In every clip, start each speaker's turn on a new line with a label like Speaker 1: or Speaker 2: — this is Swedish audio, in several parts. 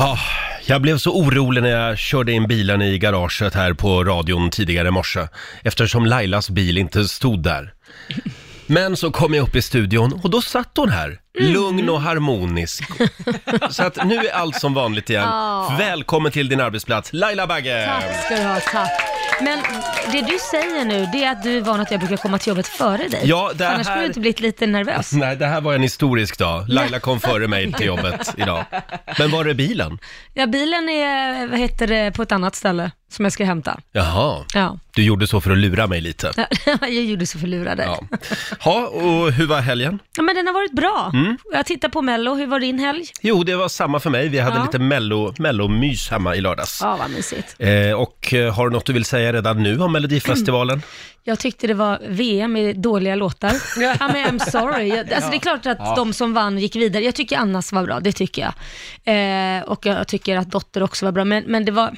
Speaker 1: Ah, jag blev så orolig när jag körde in bilen i garaget här på radion tidigare i morse. Eftersom Lailas bil inte stod där. Men så kom jag upp i studion och då satt hon här,
Speaker 2: Mm.
Speaker 1: lugn och harmonisk. Så att nu är allt som vanligt igen.
Speaker 2: Ja.
Speaker 1: Välkommen till din arbetsplats, Laila Bagge!
Speaker 2: Tack ska du ha, tack. Men det du säger nu, det är att du är van att jag brukar komma till jobbet före dig.
Speaker 1: Ja, det
Speaker 2: För Annars skulle
Speaker 1: här-
Speaker 2: du inte blivit lite nervös.
Speaker 1: Nej, det här var en historisk dag. Laila kom före mig till jobbet idag. Men var är bilen?
Speaker 2: Ja, bilen är, vad heter det, på ett annat ställe som jag ska hämta.
Speaker 1: Jaha,
Speaker 2: Ja,
Speaker 1: du gjorde så för att lura mig lite.
Speaker 2: jag gjorde så förlurad.
Speaker 1: Ja.
Speaker 2: Ja.
Speaker 1: Ha, och hur var helgen?
Speaker 2: ja, men den har varit bra.
Speaker 1: Mm.
Speaker 2: Jag tittar på Mello, hur var din helg?
Speaker 1: Jo, det var samma för mig. Vi hade
Speaker 2: Ja.
Speaker 1: lite mello- mellomys hemma i lördags.
Speaker 2: Ja, vad mysigt.
Speaker 1: Eh, och eh, har du något du vill säga redan nu om Melodifestivalen?
Speaker 2: Jag tyckte det var VM i dåliga låtar. ja, men I'm sorry. Jag, alltså, Det är klart att
Speaker 1: Ja.
Speaker 2: de som vann gick vidare. Jag tycker Annas var bra, det tycker jag. Eh, och jag tycker att Dotter också var bra, men, men det var...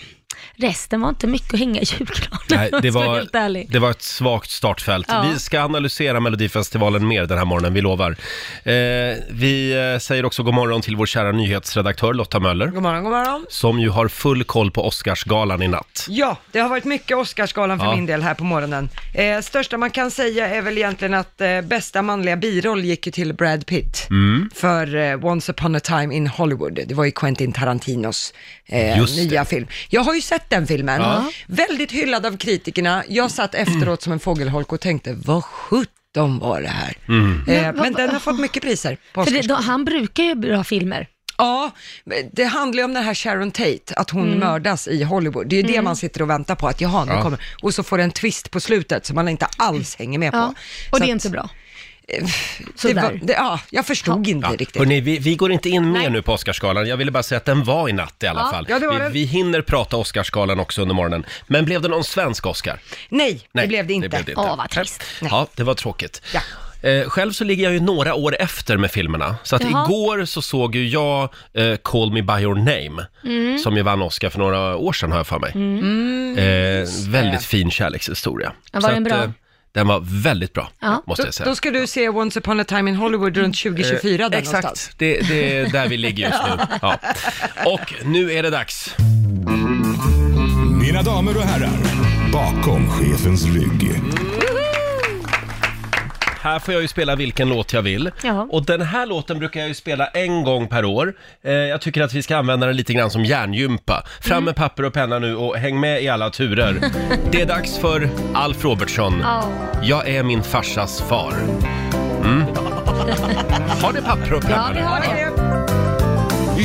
Speaker 2: Resten var inte mycket att hänga i julgranen, om
Speaker 1: det
Speaker 2: jag ska vara
Speaker 1: var,
Speaker 2: helt ärlig.
Speaker 1: det var ett svagt startfält.
Speaker 2: Ja.
Speaker 1: Vi ska analysera Melodifestivalen mer den här morgonen, vi lovar. Eh, vi eh, säger också god morgon till vår kära nyhetsredaktör Lotta Möller,
Speaker 3: God morgon, god morgon.
Speaker 1: som ju har full koll på Oscarsgalan i natt.
Speaker 3: Ja, det har varit mycket Oscarsgalan för
Speaker 1: Ja.
Speaker 3: min del här på morgonen. Eh, största man kan säga är väl egentligen att eh, bästa manliga biroll gick ju till Brad Pitt
Speaker 1: Mm.
Speaker 3: för eh, Once upon a time in Hollywood. Det var ju Quentin Tarantinos eh,
Speaker 4: Just det.
Speaker 3: nya film. Jag har ju sett den filmen.
Speaker 4: Ja.
Speaker 3: Väldigt hyllad av kritikerna. Jag satt efteråt som en fågelholk och tänkte, vad sjutton var det här? Eh, men den har fått mycket priser. På
Speaker 2: För det,
Speaker 3: Oscarsgalan.
Speaker 2: då, han brukar ju bra filmer.
Speaker 3: Ja, det handlar ju om den här Sharon Tate, att hon
Speaker 2: Mm.
Speaker 3: mördas i Hollywood. Det är ju det
Speaker 2: Mm.
Speaker 3: man sitter och väntar på, att jaha, nu
Speaker 2: Ja.
Speaker 3: kommer... Och så får det en twist på slutet som man inte alls hänger med på.
Speaker 2: Ja,
Speaker 3: Så
Speaker 2: och det är
Speaker 3: att-
Speaker 2: inte bra.
Speaker 3: Eh, Det
Speaker 2: Sådär.
Speaker 3: var, det, ja, jag förstod inte riktigt.
Speaker 1: Hörrni, vi, vi går inte in mer nu på Oscarsgalan. Jag ville bara säga att den var i natt i alla
Speaker 3: Ja.
Speaker 1: fall.
Speaker 3: Ja, det var
Speaker 1: vi,
Speaker 3: den.
Speaker 1: vi hinner prata Oscarsgalan också under morgonen. Men blev det någon svensk Oscar?
Speaker 3: Nej, det blev det inte.
Speaker 1: Åh, vad
Speaker 3: trist.
Speaker 1: Ja, det var tråkigt. Eh, själv så ligger jag ju några år efter med filmerna. Så att
Speaker 2: Jaha.
Speaker 1: igår så såg ju jag eh, Call Me By Your Name,
Speaker 2: Mm.
Speaker 1: som ju vann Oscar för några år sedan har jag för mig.
Speaker 2: Mm.
Speaker 1: Eh,
Speaker 2: Just det.
Speaker 1: väldigt fin kärlekshistoria.
Speaker 3: Ja, var
Speaker 1: Så eh,
Speaker 3: den bra?
Speaker 1: den var väldigt bra, måste
Speaker 3: Då-
Speaker 1: jag säga.
Speaker 3: Då ska du se Once upon a time in Hollywood runt 2024
Speaker 1: Eh,
Speaker 3: där någonstans.
Speaker 1: Exakt, det, det är där vi ligger just nu. Ja. Och nu är det dags.
Speaker 5: Mina damer och herrar, bakom chefens rygg.
Speaker 1: Här får jag ju spela vilken låt jag vill.
Speaker 2: Ja.
Speaker 1: Och den här låten brukar jag ju spela en gång per år. Eh, jag tycker att vi ska använda den lite grann som järngympa. Fram
Speaker 2: Mm.
Speaker 1: med papper och penna nu och häng med i alla turer. Det är dags för Alf Robertsson.
Speaker 2: Ja.
Speaker 1: Jag är min farsas far. Mm. Har ni papper och penna? nu?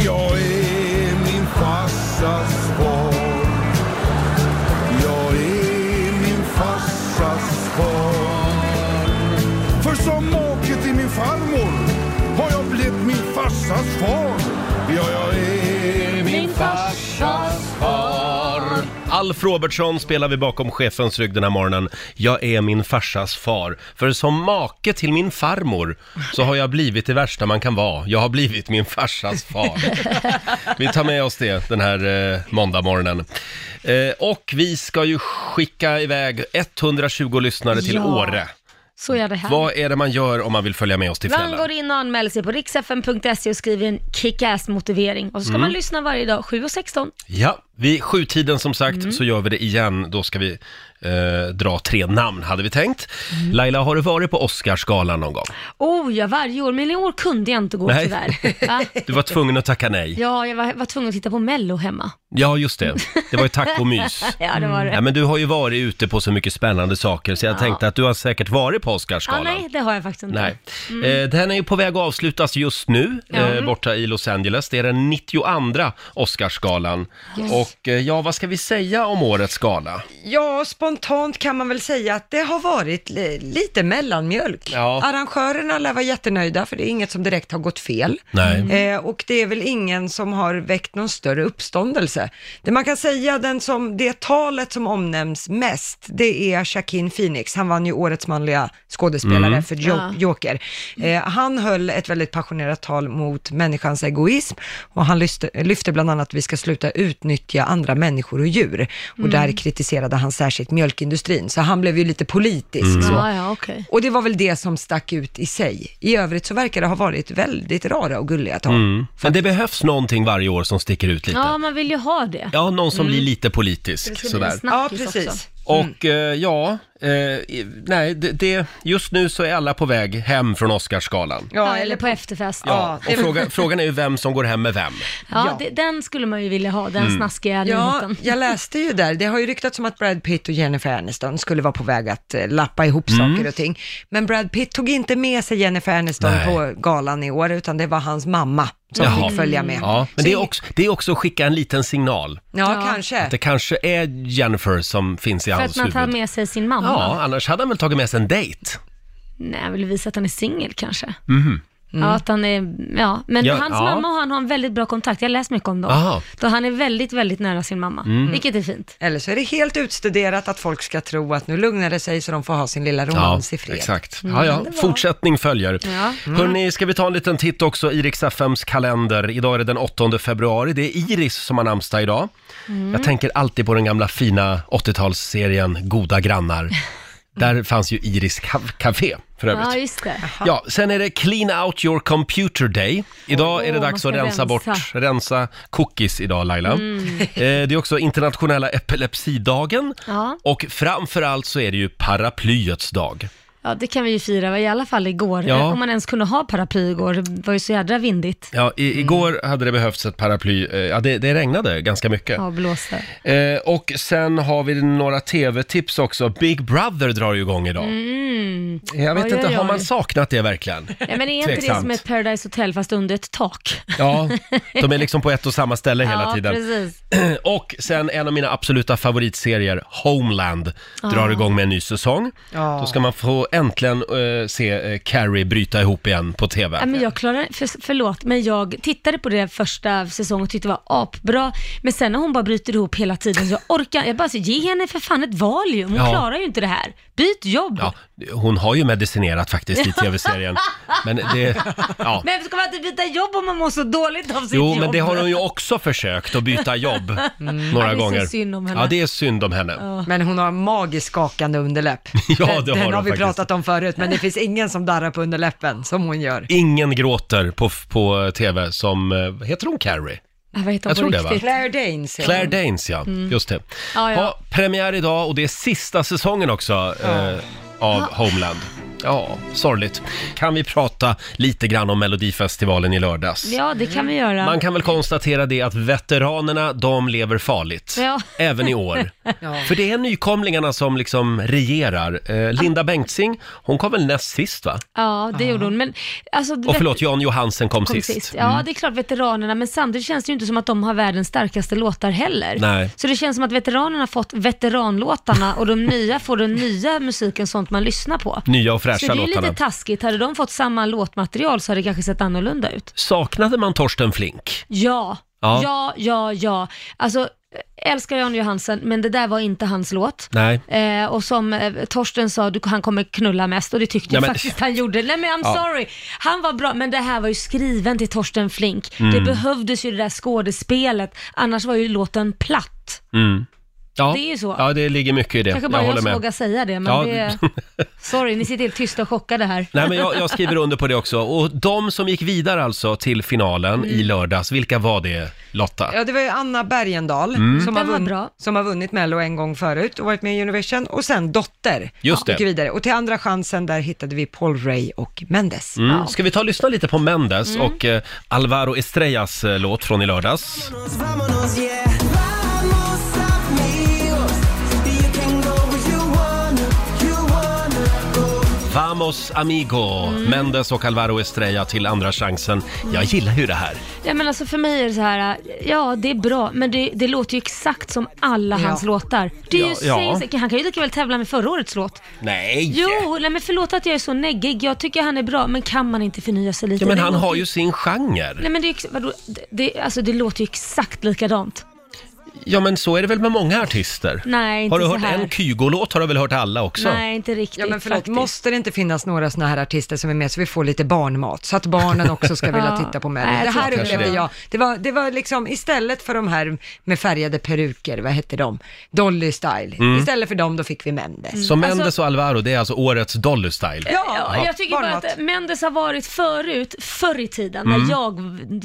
Speaker 5: Jag är min farsas far. Jag är min farsas far. För som make till min farmor har jag blivit min farsas far. Ja, jag är min farsas far.
Speaker 1: Alf Robertsson spelar vi bakom chefens rygg den här morgonen. Jag är min farsas far. För som make till min farmor så har jag blivit det värsta man kan vara. Jag har blivit min farsas far. Vi tar med oss det den här eh, måndagmorgonen. Eh, och vi ska ju skicka iväg 120 lyssnare till
Speaker 2: Ja.
Speaker 1: Åre.
Speaker 2: Så gör det här.
Speaker 1: Vad är det man gör om man vill följa med oss till
Speaker 2: Man
Speaker 1: fjällen?
Speaker 2: går in och anmäler sig på riksfn.se och skriver en kick-ass motivering och så ska
Speaker 1: Mm.
Speaker 2: man lyssna varje dag 7 och 16.
Speaker 1: Ja, vid sjutiden som sagt
Speaker 2: Mm.
Speaker 1: så gör vi det igen. Då ska vi eh, dra tre namn hade vi tänkt. Laila, har du varit på Oscarsgalan någon gång?
Speaker 2: Oh ja, varje år, men i år kunde jag inte gå
Speaker 1: Nej.
Speaker 2: tyvärr. Va?
Speaker 1: Du var tvungen att tacka nej.
Speaker 2: Ja, jag var, var tvungen att titta på Mello hemma.
Speaker 1: Ja, just det. Det var ju tack och mys.
Speaker 2: ja, det var det.
Speaker 1: Mm. Ja, men du har ju varit ute på så mycket spännande saker så jag
Speaker 2: Ja.
Speaker 1: tänkte att du har säkert varit på
Speaker 2: ah,
Speaker 1: Oscarsgalan.
Speaker 2: nej, det har jag faktiskt inte.
Speaker 1: Nej.
Speaker 2: Mm.
Speaker 1: Eh, Den är ju på väg att avslutas just nu
Speaker 2: Ja.
Speaker 1: eh, borta i Los Angeles. Det är den 92 Oscarsgalan.
Speaker 3: Yes.
Speaker 1: Och eh, ja, vad ska vi säga om årets gala?
Speaker 3: Ja, spontant kan man väl säga att det har varit li- lite mellanmjölk.
Speaker 1: Ja.
Speaker 3: Arrangörerna lär vara jättenöjda för det är inget som direkt har gått fel.
Speaker 1: Nej.
Speaker 6: Mm.
Speaker 3: Eh, och det är väl ingen som har väckt någon större uppståndelse. Det man kan säga, den som, det talet som omnämns mest, det är Shaquin Phoenix. Han vann ju årets manliga skådespelare
Speaker 6: Mm.
Speaker 3: för
Speaker 6: Ja.
Speaker 3: jo- Joker. Eh, han höll ett väldigt passionerat tal mot människans egoism och han lyfte, lyfte bland annat att vi ska sluta utnyttja utnyttja andra människor och djur. Och
Speaker 6: Mm.
Speaker 3: där kritiserade han särskilt mjölkindustrin, så han blev ju lite politisk.
Speaker 6: Mm.
Speaker 3: Så.
Speaker 2: Ja, ja, okej.
Speaker 3: Och det var väl det som stack ut i sig. I övrigt så verkar det ha varit väldigt rara och gulliga tag.
Speaker 1: Mm. Men det behövs någonting varje år som sticker ut lite.
Speaker 2: Ja, man vill ju ha det.
Speaker 1: Ja, någon som blir lite
Speaker 2: Det
Speaker 1: politisk
Speaker 2: ska bli
Speaker 1: sådär.
Speaker 2: en snackis också.
Speaker 1: Och eh, ja, eh, i- nej, det, det, just nu så är alla på väg hem från Oscarsgalan.
Speaker 3: Ja,
Speaker 2: Ja, eller på efterfest.
Speaker 1: Ja,
Speaker 3: det-
Speaker 1: och fråga, frågan är ju vem som går hem med vem.
Speaker 2: Ja,
Speaker 3: Ja.
Speaker 2: Det, den skulle man ju vilja ha,
Speaker 1: Mm.
Speaker 2: den snaskiga
Speaker 3: Ja,
Speaker 2: nyheten.
Speaker 3: jag läste ju där. Det har ju ryktats om att Brad Pitt och Jennifer Aniston skulle vara på väg att eh, lappa ihop
Speaker 1: Mm.
Speaker 3: saker och ting. Men Brad Pitt tog inte med sig Jennifer Aniston
Speaker 1: Nej.
Speaker 3: på galan i år, utan det var hans mamma som
Speaker 1: Jaha.
Speaker 3: fick följa med.
Speaker 1: Ja, men det är,
Speaker 3: Så-
Speaker 1: också, det är också att skicka en liten signal.
Speaker 3: Ja,
Speaker 2: Ja.
Speaker 3: kanske.
Speaker 1: Att det kanske är Jennifer som finns i
Speaker 2: För att
Speaker 1: hans
Speaker 2: man tar
Speaker 1: huvud.
Speaker 2: med sig sin mamma.
Speaker 1: Ja, annars hade han väl tagit med sig en dejt.
Speaker 2: Nej, jag vill visa att han är singel kanske.
Speaker 3: Mm.
Speaker 2: Ja, att han är, ja. Men
Speaker 1: Mhm. Ja,
Speaker 2: hans
Speaker 1: ja.
Speaker 2: mamma och han har en väldigt bra kontakt. Jag har läst mycket om dem.
Speaker 1: Aha. Mm.
Speaker 2: Då han är väldigt, väldigt nära sin mamma, vilket är fint.
Speaker 3: Eller så är det helt utstuderat att folk ska tro att nu lugnar det sig så de får ha sin lilla romans i fred.
Speaker 1: Exakt. Ja, ja. Fortsättning följer.
Speaker 2: Mm, Ja. Mm.
Speaker 1: Hörni, ska vi ta en liten titt också i Rix FMs kalender. Idag är det den 8 februari. Det är Iris som har namnsdag idag.
Speaker 2: Mm.
Speaker 1: Jag tänker alltid på den gamla fina 80-talsserien Goda grannar. Där fanns ju Iris ka- Café för övrigt.
Speaker 2: Ja, just det.
Speaker 1: Ja, sen är det Clean Out Your Computer Day. Idag är det
Speaker 2: Åh,
Speaker 1: dags
Speaker 2: man
Speaker 1: att rensa,
Speaker 2: ska rensa. Mm.
Speaker 1: bort, rensa cookies idag Laila. Eh, det är också internationella epilepsidagen
Speaker 2: Ja.
Speaker 1: och framförallt så är det ju paraplyets dag.
Speaker 2: Ja, det kan vi ju fira, i alla fall igår.
Speaker 1: Ja.
Speaker 2: Om man ens kunde ha paraply igår, det var ju så jädra vindigt.
Speaker 1: Ja, i, igår hade det behövts ett paraply. Eh, Ja, det, det regnade ganska mycket.
Speaker 2: Ja, blåste.
Speaker 1: Eh, och sen har vi några tv-tips också. Big Brother drar ju igång idag.
Speaker 2: Mm.
Speaker 1: Jag vet
Speaker 2: Oj,
Speaker 1: inte,
Speaker 2: oj,
Speaker 1: har
Speaker 2: oj.
Speaker 1: man saknat det verkligen?
Speaker 2: Nej, men är inte det
Speaker 1: Tveksamt.
Speaker 2: som ett Paradise Hotel fast under ett tak?
Speaker 1: Ja, de är liksom på ett och samma ställe hela
Speaker 2: ja,
Speaker 1: tiden.
Speaker 2: precis.
Speaker 1: Och sen en av mina absoluta favoritserier, Homeland, drar
Speaker 2: Ah.
Speaker 1: igång med en ny säsong.
Speaker 3: Ja.
Speaker 1: Då ska man få äntligen eh, se eh, Carrie bryta ihop igen på TV.
Speaker 2: Ja, men jag klarar, för, förlåt, men jag tittade på det första säsongen och tyckte det var apbra, men sen när hon bara bryter ihop hela tiden så jag orkar jag bara, så, ge henne för fan ett valium, hon
Speaker 1: Ja.
Speaker 2: klarar ju inte det här. Byt jobb.
Speaker 1: Ja, hon har ju medicinerat faktiskt i tv-serien. Men det... Ja.
Speaker 2: Men ska man inte byta jobb om man mår så dåligt av sitt
Speaker 1: Jo,
Speaker 2: jobb? Mm.
Speaker 1: men det har hon ju också försökt att byta jobb några
Speaker 2: Ja, det är så
Speaker 1: gånger.
Speaker 2: synd om henne.
Speaker 1: Ja, det är synd om henne. Ja,
Speaker 3: Men hon har magiskt skakande underläpp.
Speaker 1: det har
Speaker 3: den, den
Speaker 1: hon
Speaker 3: har vi
Speaker 1: faktiskt.
Speaker 3: pratat om förut, men det finns ingen som darrar på underläppen som hon gör.
Speaker 1: Ingen gråter på, på tv som... eh, Heter hon Carrie?
Speaker 2: Ja, vad heter
Speaker 1: Jag
Speaker 2: hon på
Speaker 1: tror det,
Speaker 2: riktigt?
Speaker 3: Claire Danes. heter
Speaker 1: Claire
Speaker 3: hon.
Speaker 1: Danes, ja. Just det.
Speaker 2: Mm. Ja, ja.
Speaker 1: premiär idag och det är sista säsongen också eh, av Homeland. Ja, sorgligt. Kan vi prata lite grann om Melodifestivalen i lördags?
Speaker 2: Ja, det kan vi göra.
Speaker 1: Man kan väl konstatera det att veteranerna, de lever farligt.
Speaker 2: Ja.
Speaker 1: Även i år. För det är nykomlingarna som liksom regerar. Eh, Linda Bengtzing, hon kom väl näst sist va?
Speaker 2: Ja, det gjorde hon. Men, alltså,
Speaker 1: Och förlåt, Jan Johansen kom,
Speaker 2: kom
Speaker 1: sist.
Speaker 2: sist. Ja, det är klart veteranerna, men samtidigt känns det ju inte som att de har världens starkaste låtar heller.
Speaker 1: Nej.
Speaker 2: Så det känns som att veteranerna fått veteranlåtarna och de nya får den nya musiken, sånt man lyssnar på.
Speaker 1: Nya och
Speaker 2: Så
Speaker 1: fräscha
Speaker 2: det är ju
Speaker 1: låtarna.
Speaker 2: lite taskigt, hade de fått samma låtmaterial så hade det kanske sett annorlunda ut.
Speaker 1: Saknade man Torsten Flink?
Speaker 2: Ja,
Speaker 1: Ja.
Speaker 2: ja, ja, ja. Alltså, älskar Jan Johansen, men det där var inte hans låt.
Speaker 1: Nej.
Speaker 2: Eh, och som eh, Torsten sa, du, han kommer knulla mest och det tyckte
Speaker 1: Ja,
Speaker 2: jag
Speaker 1: men-
Speaker 2: faktiskt han gjorde. Nej men I'm
Speaker 1: Ja.
Speaker 2: sorry. Han var bra, men det här var ju skriven till Torsten Flink. Det
Speaker 1: Mm.
Speaker 2: behövdes ju det där skådespelet, annars var ju låten platt.
Speaker 1: Ja.
Speaker 2: Det är ju så.
Speaker 1: Ja, det ligger mycket i det.
Speaker 2: Kanske
Speaker 1: jag
Speaker 2: bara
Speaker 1: håller
Speaker 2: jag,
Speaker 1: med.
Speaker 2: vågar säga det, men
Speaker 1: Ja.
Speaker 2: det... Sorry, ni sitter helt tysta och chockade här.
Speaker 1: Nej, men jag, jag skriver under på det också. Och de som gick vidare alltså till finalen
Speaker 2: Mm.
Speaker 1: i lördags, vilka var det Lotta?
Speaker 3: Ja, det var ju Anna Bergendahl
Speaker 1: Mm.
Speaker 3: som, har
Speaker 2: Den var
Speaker 3: vunn,
Speaker 2: bra.
Speaker 3: som har vunnit Mello en gång förut och varit med i Univision och sen Dotter.
Speaker 1: Just det.
Speaker 3: Och vidare. Och till andra chansen där hittade vi Paul Ray och Mendes.
Speaker 1: Mm. Ska vi ta och lyssna lite på Mendes
Speaker 2: Mm.
Speaker 1: och eh, Alvaro Estrellas eh, låt från i lördags?
Speaker 4: Vámonos, yeah. Vamos amigos. You can go where you wanna, you wanna go.
Speaker 1: Vamos amigo,
Speaker 2: Mm.
Speaker 1: Mendes och Alvaro Estrella till andra chansen. Jag gillar ju det här.
Speaker 2: Ja, men alltså för mig är det så här, eh, ja det är bra, men det, det låter ju exakt som alla hans låtar. Det är ju
Speaker 1: Ja, ja.
Speaker 2: same- Han kan ju lika väl tävla med förra årets låt.
Speaker 1: Nej!
Speaker 2: Jo, nej, men förlåt att jag är så neggig. Jag tycker han är bra, men kan man inte förnya sig lite?
Speaker 1: Ja, men
Speaker 2: Det
Speaker 1: han
Speaker 2: låter
Speaker 1: har ju sin genre.
Speaker 2: Nej men det, är ju ex- vadå, det, det, alltså, det låter ju exakt likadant.
Speaker 1: Ja, men så är det väl med många artister?
Speaker 2: Nej, inte
Speaker 1: Har du
Speaker 2: så
Speaker 1: hört
Speaker 2: här.
Speaker 1: en Kygo-låt har du väl hört alla också?
Speaker 2: Nej, inte riktigt
Speaker 3: Ja men förlåt,
Speaker 2: faktiskt.
Speaker 3: måste det inte finnas några sådana här artister som är med så vi får lite barnmat, så att barnen också ska vilja
Speaker 2: Ja.
Speaker 3: titta på
Speaker 2: Nej,
Speaker 3: Mello?
Speaker 2: jag
Speaker 3: Det
Speaker 2: tror
Speaker 3: här
Speaker 1: kanske
Speaker 3: upplevde
Speaker 1: det.
Speaker 3: jag, det var, det var liksom istället för de här med färgade peruker, vad hette de? Dolly Style. Istället för dem, då fick vi Mendes.
Speaker 1: Mm. Så
Speaker 2: Alltså-
Speaker 1: Mendes och Alvaro, det är alltså årets Dolly Style.
Speaker 2: Ja, jag tycker bara att Mendes har varit förut, förr i tiden,
Speaker 1: Mm.
Speaker 2: när jag,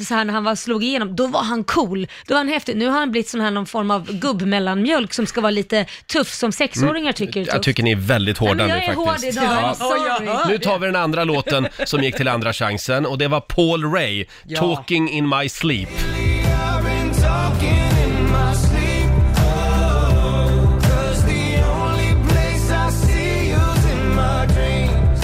Speaker 2: så här, när han var, slog igenom, då var han cool. Då var han häftig. Nu har han blivit sån här någon form av gubbmellanmjölk som ska vara lite tuff som sexåringar tycker är
Speaker 1: Mm. Jag
Speaker 2: tuff.
Speaker 1: tycker ni är väldigt
Speaker 2: Nej,
Speaker 1: hårda
Speaker 2: men jag
Speaker 1: nu
Speaker 2: är hård
Speaker 1: faktiskt.
Speaker 2: idag, I'm
Speaker 1: Ja.
Speaker 2: sorry.
Speaker 3: Ah,
Speaker 1: Nu tar vi den andra låten som gick till andra chansen och det var Paul Ray,
Speaker 3: Ja.
Speaker 1: Talking in my sleep.
Speaker 4: I've been talking in my sleep. Oh, 'cause the only place I see you's in my dreams.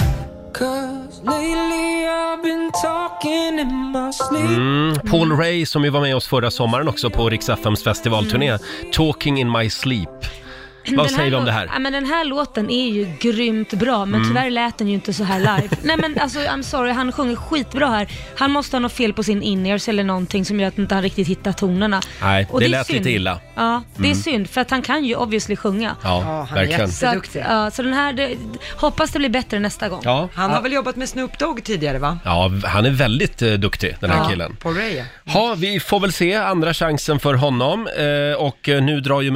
Speaker 4: 'Cause lately I've been talking in my sleep.
Speaker 1: Mm, Paul Ray som ju var med oss förra sommaren också på Rix FMs festivalturné,
Speaker 3: Mm.
Speaker 1: Talking in my sleep. Vad
Speaker 2: Den
Speaker 1: säger vi om
Speaker 2: lå-
Speaker 1: det här? Mm.
Speaker 2: Ja, men den här låten är ju grymt bra, men tyvärr lät den ju inte så här live. Nej men alltså I'm sorry, han sjunger skitbra här. Han måste ha något fel på sin in-ears eller någonting som gör att inte han riktigt hittar tonerna.
Speaker 1: Nej, det
Speaker 2: är
Speaker 1: lät lite illa. Mm.
Speaker 2: Ja, det är synd, för att han kan ju obviously sjunga.
Speaker 1: Ja,
Speaker 3: Ja, han är
Speaker 1: verkligen.
Speaker 3: jätte-
Speaker 2: Så, att,
Speaker 3: Jätteduktig.
Speaker 2: ja, så den här, det, hoppas det blir bättre nästa gång.
Speaker 1: Ja,
Speaker 3: Han har väl jobbat med Snoop Dogg tidigare va?
Speaker 1: ja, han är väldigt eh, duktig den här
Speaker 2: Ja.
Speaker 1: killen.
Speaker 3: Paul Ray ja.
Speaker 1: Ja, vi får väl se andra chansen för honom. Eh, och eh, nu drar ju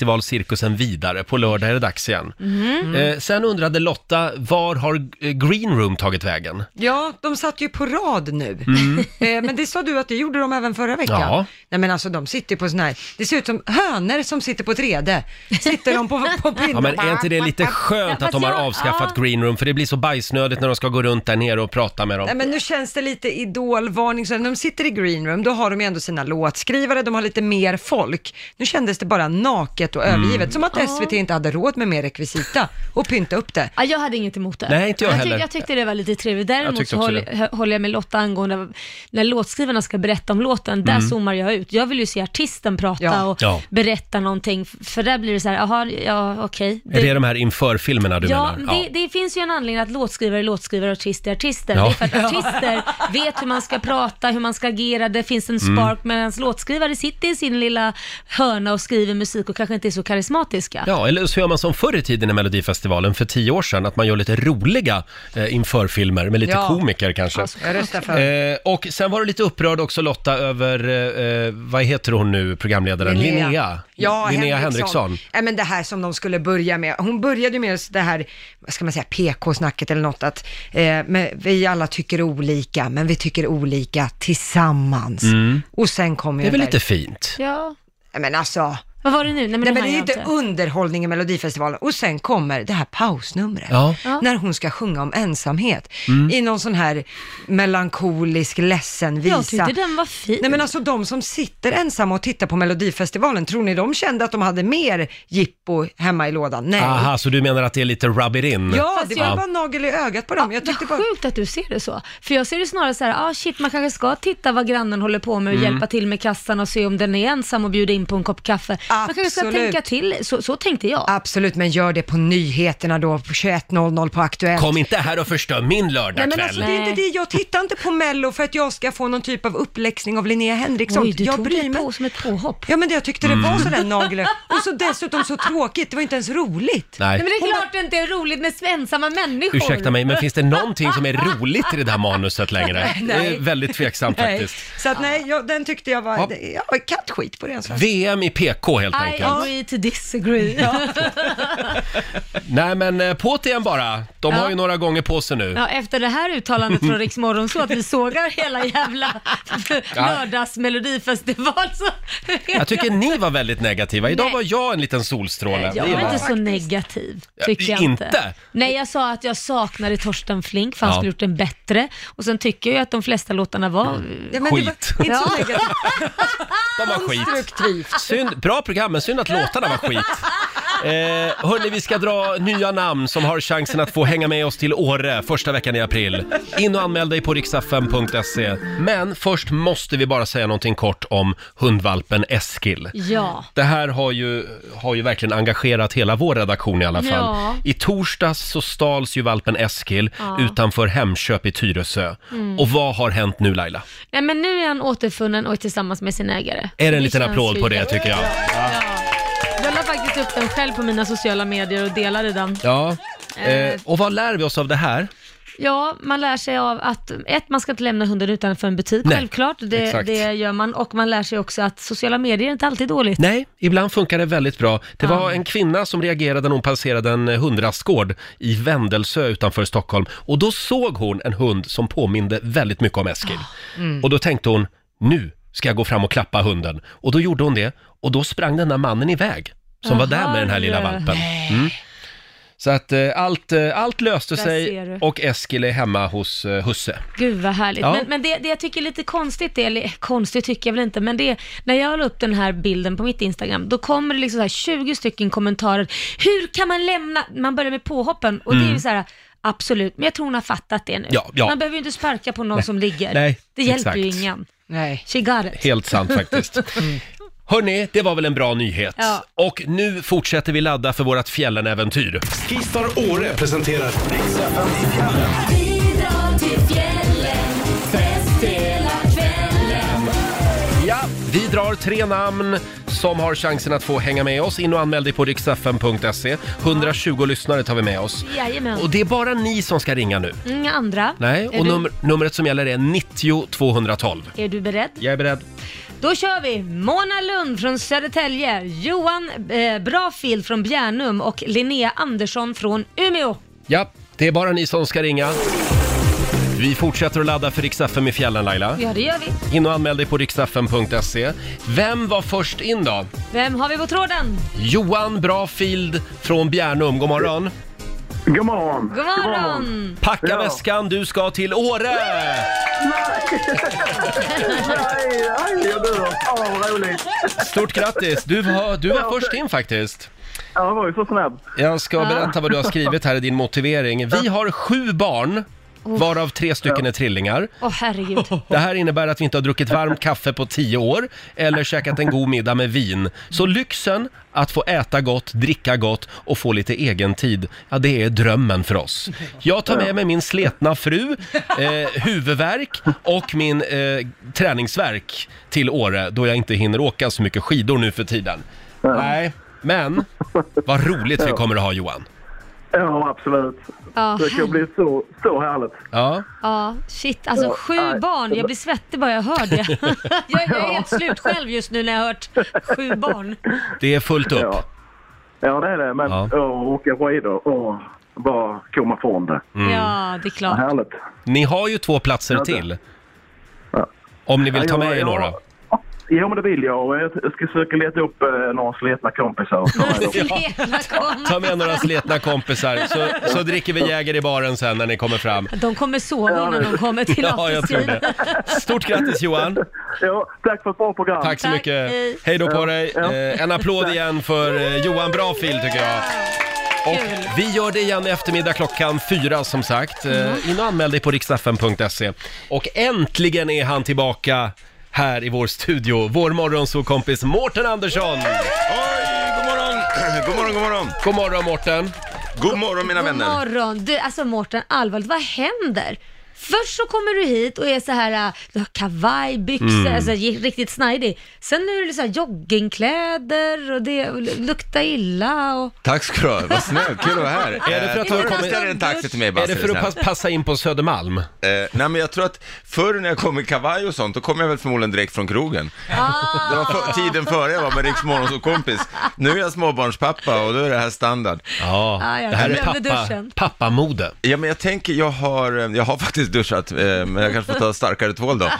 Speaker 1: Melodifestivalcirkusen vidare. På lördag är det dags igen.
Speaker 2: Mhm.
Speaker 1: Eh, sen undrade Lotta, var har eh, Green Room tagit vägen?
Speaker 3: Ja, de satt ju på rad nu. Eh, Men det sa du att det gjorde de även förra veckan.
Speaker 1: Mm. Ja.
Speaker 3: Nej men alltså de sitter på sån här, det ser ut som hönor som sitter på ett rede. Sitter de på, på pinnar.
Speaker 1: Ja, men är inte det lite skönt
Speaker 2: Ja,
Speaker 1: att de har
Speaker 2: fast jag-
Speaker 1: avskaffat
Speaker 2: ja.
Speaker 1: Green Room? För det blir så bajsnödigt när de ska gå runt där nere och prata med dem.
Speaker 3: Nej men nu känns det lite idolvarning, så när de sitter i green room då har de ju ändå sina låtskrivare, de har lite mer folk. Nu kändes det bara naket och
Speaker 1: Mm.
Speaker 3: övergivet, som att SVT inte hade råd med mer rekvisita och pynta upp det.
Speaker 2: Ja, jag hade inget emot det.
Speaker 1: Nej, inte jag
Speaker 2: tyck-
Speaker 1: heller.
Speaker 2: jag tyckte det var lite trevligt.
Speaker 1: Jag
Speaker 2: Däremot
Speaker 1: tyckte
Speaker 2: så
Speaker 1: också
Speaker 2: håller, hö- håller jag med Lotta angående när låtskrivarna ska berätta om låten, där zoomar jag ut. Jag vill ju se artisten prata
Speaker 3: Ja.
Speaker 2: och
Speaker 1: Mm. Ja.
Speaker 2: berätta någonting, f- för där blir det så här, jaha, ja okej.
Speaker 1: Är det de här införfilmerna du
Speaker 2: Ja,
Speaker 1: menar?
Speaker 2: det, det finns ju en anledning att låtskrivare är låtskrivare och artister är artister.
Speaker 1: Ja.
Speaker 2: Det är för att artister vet hur man ska prata, hur man ska agera, det finns en
Speaker 1: Mm.
Speaker 2: spark, medan låtskrivare sitter i sin lilla hörna och skriver musik och kanske inte är så karismatiska.
Speaker 1: Ja, eller så gör man som förr i tiden i Melodifestivalen för tio år sedan, att man gör lite roliga eh, införfilmer med lite
Speaker 3: Ja.
Speaker 1: komiker kanske.
Speaker 3: Jag röstar för
Speaker 1: Eh, och sen var du lite upprörd också Lotta över, eh, eh, vad heter hon nu, programledaren? Linnea.
Speaker 3: Ja,
Speaker 1: Linnea Henriksson.
Speaker 3: Henriksson. Nej, men det här som de skulle börja med. Hon började ju med det här, vad ska man säga, PK-snacket eller något, att eh, men vi alla tycker olika, men vi tycker olika tillsammans. Och sen kom
Speaker 1: Mm.
Speaker 3: ju
Speaker 1: Det är väl
Speaker 3: den där-
Speaker 1: lite fint?
Speaker 2: Ja.
Speaker 3: Nej, men alltså,
Speaker 2: Vad var det nu? Nej men,
Speaker 3: Nej, men
Speaker 2: det
Speaker 3: det
Speaker 2: här
Speaker 3: är ju
Speaker 2: jag
Speaker 3: inte underhållning i Melodifestivalen. Och sen kommer det här pausnumret.
Speaker 1: Ja. Mm.
Speaker 2: Ja.
Speaker 3: När hon ska sjunga om ensamhet. I någon sån här melankolisk, ledsen visa.
Speaker 2: Jag tyckte den var fin.
Speaker 3: Nej men alltså de som sitter ensamma och tittar på Melodifestivalen, tror ni de kände att de hade mer jippo hemma i lådan? Nej.
Speaker 1: Aha, så du menar att det är lite rub it in?
Speaker 3: Ja,
Speaker 2: Fast
Speaker 3: det var
Speaker 2: jag-
Speaker 3: bara nagel i ögat på dem. Jag tyckte
Speaker 2: Vad
Speaker 3: bara,
Speaker 2: sjukt att du ser det så. För jag ser det snarare så här, ah shit man kanske ska titta vad grannen håller på med och
Speaker 3: Mm.
Speaker 2: hjälpa till med kassan och se om den är ensam och bjuda in på en kopp kaffe. Man kanske ska
Speaker 3: Absolut.
Speaker 2: tänka till, så, så tänkte jag.
Speaker 3: absolut, men gör det på nyheterna då, på 21.00 på Aktuellt.
Speaker 1: Kom inte här och förstör min
Speaker 3: Nej
Speaker 1: lördagkväll.
Speaker 3: men alltså det är inte det, jag tittar inte på Mello för att jag ska få någon typ av uppläxning av Linnea Henriksson.
Speaker 2: Oj, du
Speaker 3: jag
Speaker 2: tog det på, som ett påhopp.
Speaker 3: Ja men det, jag tyckte det var sådär nagel och så dessutom så tråkigt, det var inte ens roligt.
Speaker 1: Nej.
Speaker 2: Nej, men det är klart det inte är roligt med ensamma människor.
Speaker 1: Ursäkta mig, men finns det någonting som är roligt i det där manuset längre? Det är
Speaker 3: Nej.
Speaker 1: väldigt tveksamt
Speaker 3: Nej.
Speaker 1: faktiskt.
Speaker 3: Så att nej, jag, den tyckte jag var,
Speaker 1: Ja.
Speaker 3: det- jag var kattskit på alltså. den. Så.
Speaker 1: VM i PK helt
Speaker 2: I
Speaker 1: enkelt.
Speaker 2: agree to disagree.
Speaker 1: Nej men eh, på till en bara. De har
Speaker 2: Ja.
Speaker 1: ju några gånger på sig nu.
Speaker 2: Ja, efter det här uttalandet från Rix Morgon så att vi sågar hela jävla lördagsmelodifestival så
Speaker 1: Jag tycker ni var väldigt negativa. Idag
Speaker 2: Nej.
Speaker 1: var jag en liten solstråle.
Speaker 2: Jag
Speaker 1: Det
Speaker 2: var
Speaker 1: gillar
Speaker 2: inte
Speaker 1: jag.
Speaker 2: så negativ, tycker jag
Speaker 1: inte.
Speaker 2: inte. Nej, jag sa att jag saknade Torsten Flink för han
Speaker 1: Ja.
Speaker 2: skulle gjort den bättre. Och sen tycker jag ju att de flesta låtarna var...
Speaker 1: Mm.
Speaker 3: Ja, men det var
Speaker 1: Skit.
Speaker 3: Inte så negativt,
Speaker 1: De var skit.
Speaker 3: konstruktivt.
Speaker 1: Synd, bra program, men synd att låtarna var skit. Eh, hörni, vi ska dra nya namn som har chansen att få hänga med oss till Åre första veckan i april. In och anmäl dig på riksfm.se. Men först måste vi bara säga någonting kort om hundvalpen Eskil.
Speaker 2: Ja.
Speaker 1: Det här har ju, har ju verkligen engagerat hela vår redaktion i alla fall.
Speaker 2: Ja.
Speaker 1: I torsdags så stals ju valpen Eskil
Speaker 2: Ja.
Speaker 1: utanför Hemköp i Tyresö.
Speaker 2: Mm.
Speaker 1: Och vad har hänt nu Laila?
Speaker 2: Nej, men nu är han återfunnen och är tillsammans med sin ägare.
Speaker 1: Är det en liten
Speaker 2: känns
Speaker 1: applåd
Speaker 2: ju
Speaker 1: på det
Speaker 2: jätte-
Speaker 1: tycker jag?
Speaker 2: Jag la faktiskt upp den själv på mina sociala medier och delade den.
Speaker 1: Ja. Eh, och vad lär vi oss av det här?
Speaker 2: Ja, man lär sig av att, ett, man ska inte lämna hunden utanför en butik,
Speaker 1: Nej,
Speaker 2: självklart. Det,
Speaker 1: exakt.
Speaker 2: det gör man. Och man lär sig också att sociala medier är inte alltid dåligt.
Speaker 1: Nej, ibland funkar det väldigt bra. Det var en kvinna som reagerade när hon passerade en eh, hundrastgård i Vändelsö utanför Stockholm. Och då såg hon en hund som påminde väldigt mycket om Eskil.
Speaker 2: Ah.
Speaker 4: mm.
Speaker 1: Och då tänkte hon, nu ska jag gå fram och klappa hunden. Och då gjorde hon det, och då sprang den där mannen iväg. Som var där med den här lilla
Speaker 4: Jaha.
Speaker 1: valpen. Mm. Så att eh, allt, eh, allt löste
Speaker 2: Där ser
Speaker 1: sig
Speaker 2: du.
Speaker 1: och Eskil är hemma hos eh, husse.
Speaker 2: Gud vad härligt.
Speaker 1: Ja.
Speaker 2: Men, men det, det jag tycker är lite konstigt, det, eller konstigt tycker jag väl inte, men det är när jag la upp den här bilden på mitt Instagram, då kommer det liksom så här 20 stycken kommentarer. Hur kan man lämna, man börjar med påhoppen och det är
Speaker 1: Mm.
Speaker 2: ju så här, absolut, men jag tror hon har fattat det nu.
Speaker 1: Ja, ja.
Speaker 2: Man behöver ju inte sparka på någon
Speaker 1: Nej.
Speaker 2: som ligger.
Speaker 1: Nej,
Speaker 2: det hjälper ju
Speaker 1: exakt.
Speaker 2: ingen. Nej. She got it.
Speaker 1: Helt sant faktiskt. Hörni, det var väl en bra nyhet.
Speaker 2: Ja.
Speaker 1: Och nu fortsätter vi ladda för vårt fjällenäventyr.
Speaker 6: Skistar Åre presenterar
Speaker 1: Ja, vi drar tre namn som har chansen att få hänga med oss. In och anmäl dig på riksfn.se. 120 lyssnare tar vi med oss.
Speaker 2: Jajamän.
Speaker 1: Och det är bara ni som ska ringa nu.
Speaker 2: Inga andra.
Speaker 1: Nej,
Speaker 2: är,
Speaker 1: och
Speaker 2: du,
Speaker 1: nummer, numret som gäller är 90 212.
Speaker 2: är du beredd?
Speaker 1: Jag är beredd.
Speaker 2: Då kör vi! Mona Lund från Södertälje, Johan eh, Brafield från Bjärnum och Linnea Andersson från Umeå.
Speaker 1: Ja, det är bara ni som ska ringa. Vi fortsätter att ladda för riksfn i fjällen, Laila.
Speaker 2: Ja, det gör vi.
Speaker 1: In och anmäl dig på riksfn.se. Vem var först in då?
Speaker 2: Vem har vi på tråden?
Speaker 1: Johan Brafield från Bjärnum, god morgon. God morgon.
Speaker 2: God morgon!
Speaker 1: Packa väskan, du ska till Åre! Stort grattis, du var, du var först in faktiskt.
Speaker 7: Ja, jag var ju så snabb.
Speaker 1: Jag ska berätta vad du har skrivit här i din motivering. Vi har sju barn, varav tre stycken är trillingar.
Speaker 2: Åh herregud.
Speaker 1: Det här innebär att vi inte har druckit varmt kaffe på tio år eller käkat en god middag med vin. Så lyxen att få äta gott, dricka gott och få lite egen tid, ja det är drömmen för oss. Jag tar med mig min sletna fru, eh, huvudvärk och min eh, träningsvärk till Åre då jag inte hinner åka så mycket skidor nu för tiden. Nej, men vad roligt vi kommer att ha Johan.
Speaker 7: Ja, absolut.
Speaker 2: Ja,
Speaker 7: Det kan bli så, så härligt.
Speaker 1: Ja.
Speaker 2: ja shit. Alltså
Speaker 7: Ja,
Speaker 2: sju
Speaker 7: nej.
Speaker 2: barn. Jag blir svettig bara jag hör det. jag, jag är helt slut själv just nu när jag har hört sju barn.
Speaker 1: Det är fullt upp.
Speaker 7: Ja, ja det är det. Men ja. åka skidor och bara komma från det.
Speaker 1: Mm.
Speaker 2: Ja, det är
Speaker 7: Vad
Speaker 2: klart.
Speaker 7: härligt.
Speaker 1: Ni har ju två platser
Speaker 7: Ja, det-
Speaker 1: till. Om ni vill
Speaker 7: Ja,
Speaker 1: ta
Speaker 7: jag-
Speaker 1: med er
Speaker 7: jag-
Speaker 1: några.
Speaker 7: Ja, men det vill jag. Och Jag jag ska försöka leta upp eh, några sletna kompisar.
Speaker 2: Lena kommer.
Speaker 1: Ta med några sletna kompisar så, så dricker vi Jäger i baren sen när ni kommer fram.
Speaker 2: De kommer sova innan de kommer till
Speaker 1: Ja, jag tror
Speaker 2: afterskin.
Speaker 1: det. Stort grattis Johan!
Speaker 7: Ja, tack för ett bra program.
Speaker 1: Tack så mycket!
Speaker 2: hej.
Speaker 1: Hej då på
Speaker 7: Ja,
Speaker 1: dig!
Speaker 7: ja.
Speaker 1: Eh, En applåd igen för eh, Johan Brafil tycker jag. Och vi gör det igen i eftermiddag klockan fyra som sagt. Eh, In och anmäl dig på riksdagen.se. Och äntligen är han tillbaka här i vår studio, vår morgonsåkompis Mårten Andersson!
Speaker 8: God morgon! God morgon, god morgon!
Speaker 1: God morgon Mårten!
Speaker 8: God morgon mina
Speaker 2: God
Speaker 8: vänner!
Speaker 2: morgon. Du, alltså Mårten, allvarligt, vad händer? Först så kommer du hit och är så här, äh, du har kavaj, byxor,
Speaker 8: Mm.
Speaker 2: alltså ge- riktigt snajdig. Sen nu är det så här joggingkläder och det och luktar illa och...
Speaker 8: Tack ska du ha, vad snällt, kul att vara här. Eh,
Speaker 1: Är det för att du har
Speaker 8: du
Speaker 1: kommit-
Speaker 8: kostar en taxi till mig
Speaker 1: Är det för att pass- passa in på Södermalm?
Speaker 8: Eh, nej men jag tror att förr när jag kom i kavaj och sånt, då kom jag väl förmodligen direkt från krogen.
Speaker 2: Ah.
Speaker 8: Det var för, tiden före jag var med Riks kompis. Nu är jag småbarnspappa och då är det här standard.
Speaker 1: Ja,
Speaker 2: Ah, ja, det här är glömde pappa- duschen.
Speaker 1: pappamode.
Speaker 8: Ja, men jag tänker, jag har, jag har faktiskt duschat, eh, men jag kanske får ta starkare tvål då. Eh,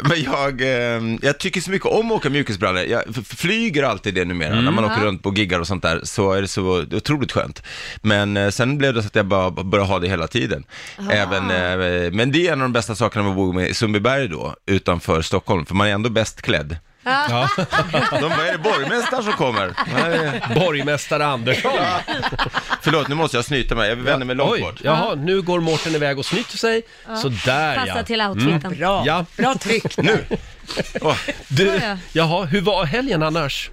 Speaker 8: Men jag, eh, jag tycker så mycket om att åka mjukisbrallor. Jag f- flyger alltid det numera,
Speaker 9: Mm.
Speaker 8: när man åker
Speaker 9: Ja.
Speaker 8: runt på giggar och sånt där, så är det så otroligt skönt. Men eh, sen blev det så att jag bara började ha det hela tiden.
Speaker 9: Ah.
Speaker 8: Även, eh, men det är en av de bästa sakerna med att bo med i Sundbyberg då, utanför Stockholm, för man är ändå bäst klädd. Ja. De bara, är det borgmästaren som kommer? Nej.
Speaker 1: Borgmästare Andersson.
Speaker 8: Förlåt, nu måste jag snyta mig. Jag vänder mig långt
Speaker 1: Oj,
Speaker 8: bort.
Speaker 1: jaha, nu går Mårten iväg och snyter sig. Så där
Speaker 8: Mm.
Speaker 2: Passa
Speaker 1: ja.
Speaker 2: till outfiten.
Speaker 3: Bra,
Speaker 1: Ja.
Speaker 3: bra tryck.
Speaker 8: Nu! Åh,
Speaker 1: Du,
Speaker 2: Ja, ja.
Speaker 1: jaha, hur var helgen annars?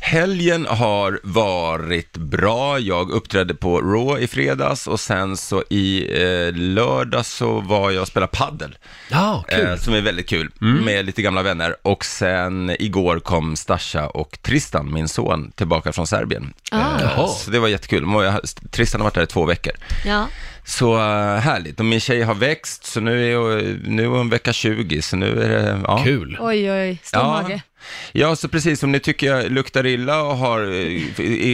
Speaker 8: Helgen har varit bra. Jag uppträdde på Raw i fredags och sen så i eh, lördags så var jag och spelade paddel.
Speaker 1: Ja,
Speaker 8: Eh, som är väldigt kul, med lite gamla vänner. Och sen igår kom Stasha och Tristan, min son, tillbaka från Serbien.
Speaker 2: Ah.
Speaker 1: Jaha.
Speaker 8: så det var jättekul. De har- Tristan har varit där i två veckor.
Speaker 2: Ja.
Speaker 8: Så eh, härligt. Och min tjej har växt, så nu är, hon- nu är hon vecka 20, så nu är det... Ja.
Speaker 1: Kul.
Speaker 2: Oj, oj, stor
Speaker 8: Ja.
Speaker 2: mage.
Speaker 8: ja, så precis som ni tycker jag luktar illa och har eh, i,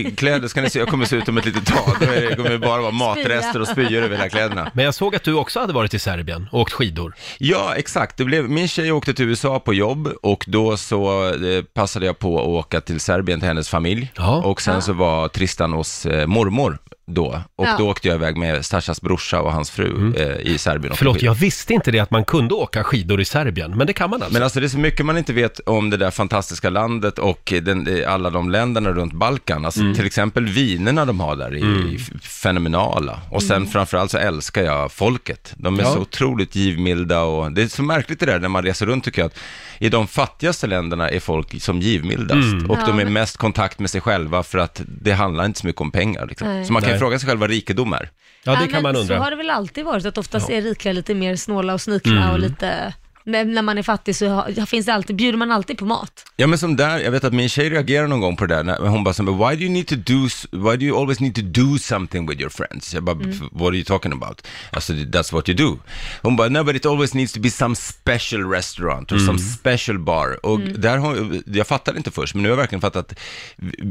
Speaker 8: i kläder ska ni se, jag kommer se ut om ett litet tag. Då är det, kommer det bara vara matrester och spyor över hela kläderna.
Speaker 1: Men jag såg att du också hade varit i Serbien och åkt skidor.
Speaker 8: Ja, exakt. Det blev, min tjej åkte till USA på jobb och då så eh, passade jag på att åka till Serbien till hennes familj.
Speaker 1: Ja.
Speaker 8: Och sen så var Tristan hos eh, mormor då. Och
Speaker 2: Ja.
Speaker 8: då åkte jag iväg med Stashas brorsa och hans fru eh, i Serbien. och
Speaker 1: Mm. Förlåt,
Speaker 8: skidor.
Speaker 1: jag visste inte det att man kunde åka skidor i Serbien, men det kan man alltså.
Speaker 8: Men alltså det är så mycket man inte vet om det där fantastiska landet och den, eh, alla de länderna runt Balkan. Alltså
Speaker 1: Mm.
Speaker 8: till exempel vinerna de har där är ju f- fenomenala. Och sen framförallt så älskar jag folket. De är
Speaker 1: Mm. Ja.
Speaker 8: så otroligt givmilda och det är så märkligt det där när man reser runt tycker jag att i de fattigaste länderna är folk som givmildast
Speaker 1: Mm.
Speaker 8: och de är mest kontakt med sig själva för att det handlar inte så mycket om pengar. Liksom.
Speaker 2: Nej.
Speaker 8: Så man kan ju
Speaker 1: Nej.
Speaker 8: fråga sig själv vad rikedom är.
Speaker 1: ja, det
Speaker 2: men
Speaker 1: kan man
Speaker 2: Så
Speaker 1: undra.
Speaker 2: har det väl alltid varit, att oftast är rika lite mer snåla och snikna
Speaker 8: Mm.
Speaker 2: och lite... Men när man är fattig så har, finns det alltid, bjuder man alltid på mat.
Speaker 8: Ja men som där, jag vet att min tjej reagerar någon gång på det där, när hon bara som why do you need to do, s- why do you always need to do something with your friends? Jag bara, what are you talking about? Alltså that's what you do. Hon bara, no but it always needs to be some special restaurant or some special bar. Och där har, jag fattade inte först, men nu har jag verkligen fattat,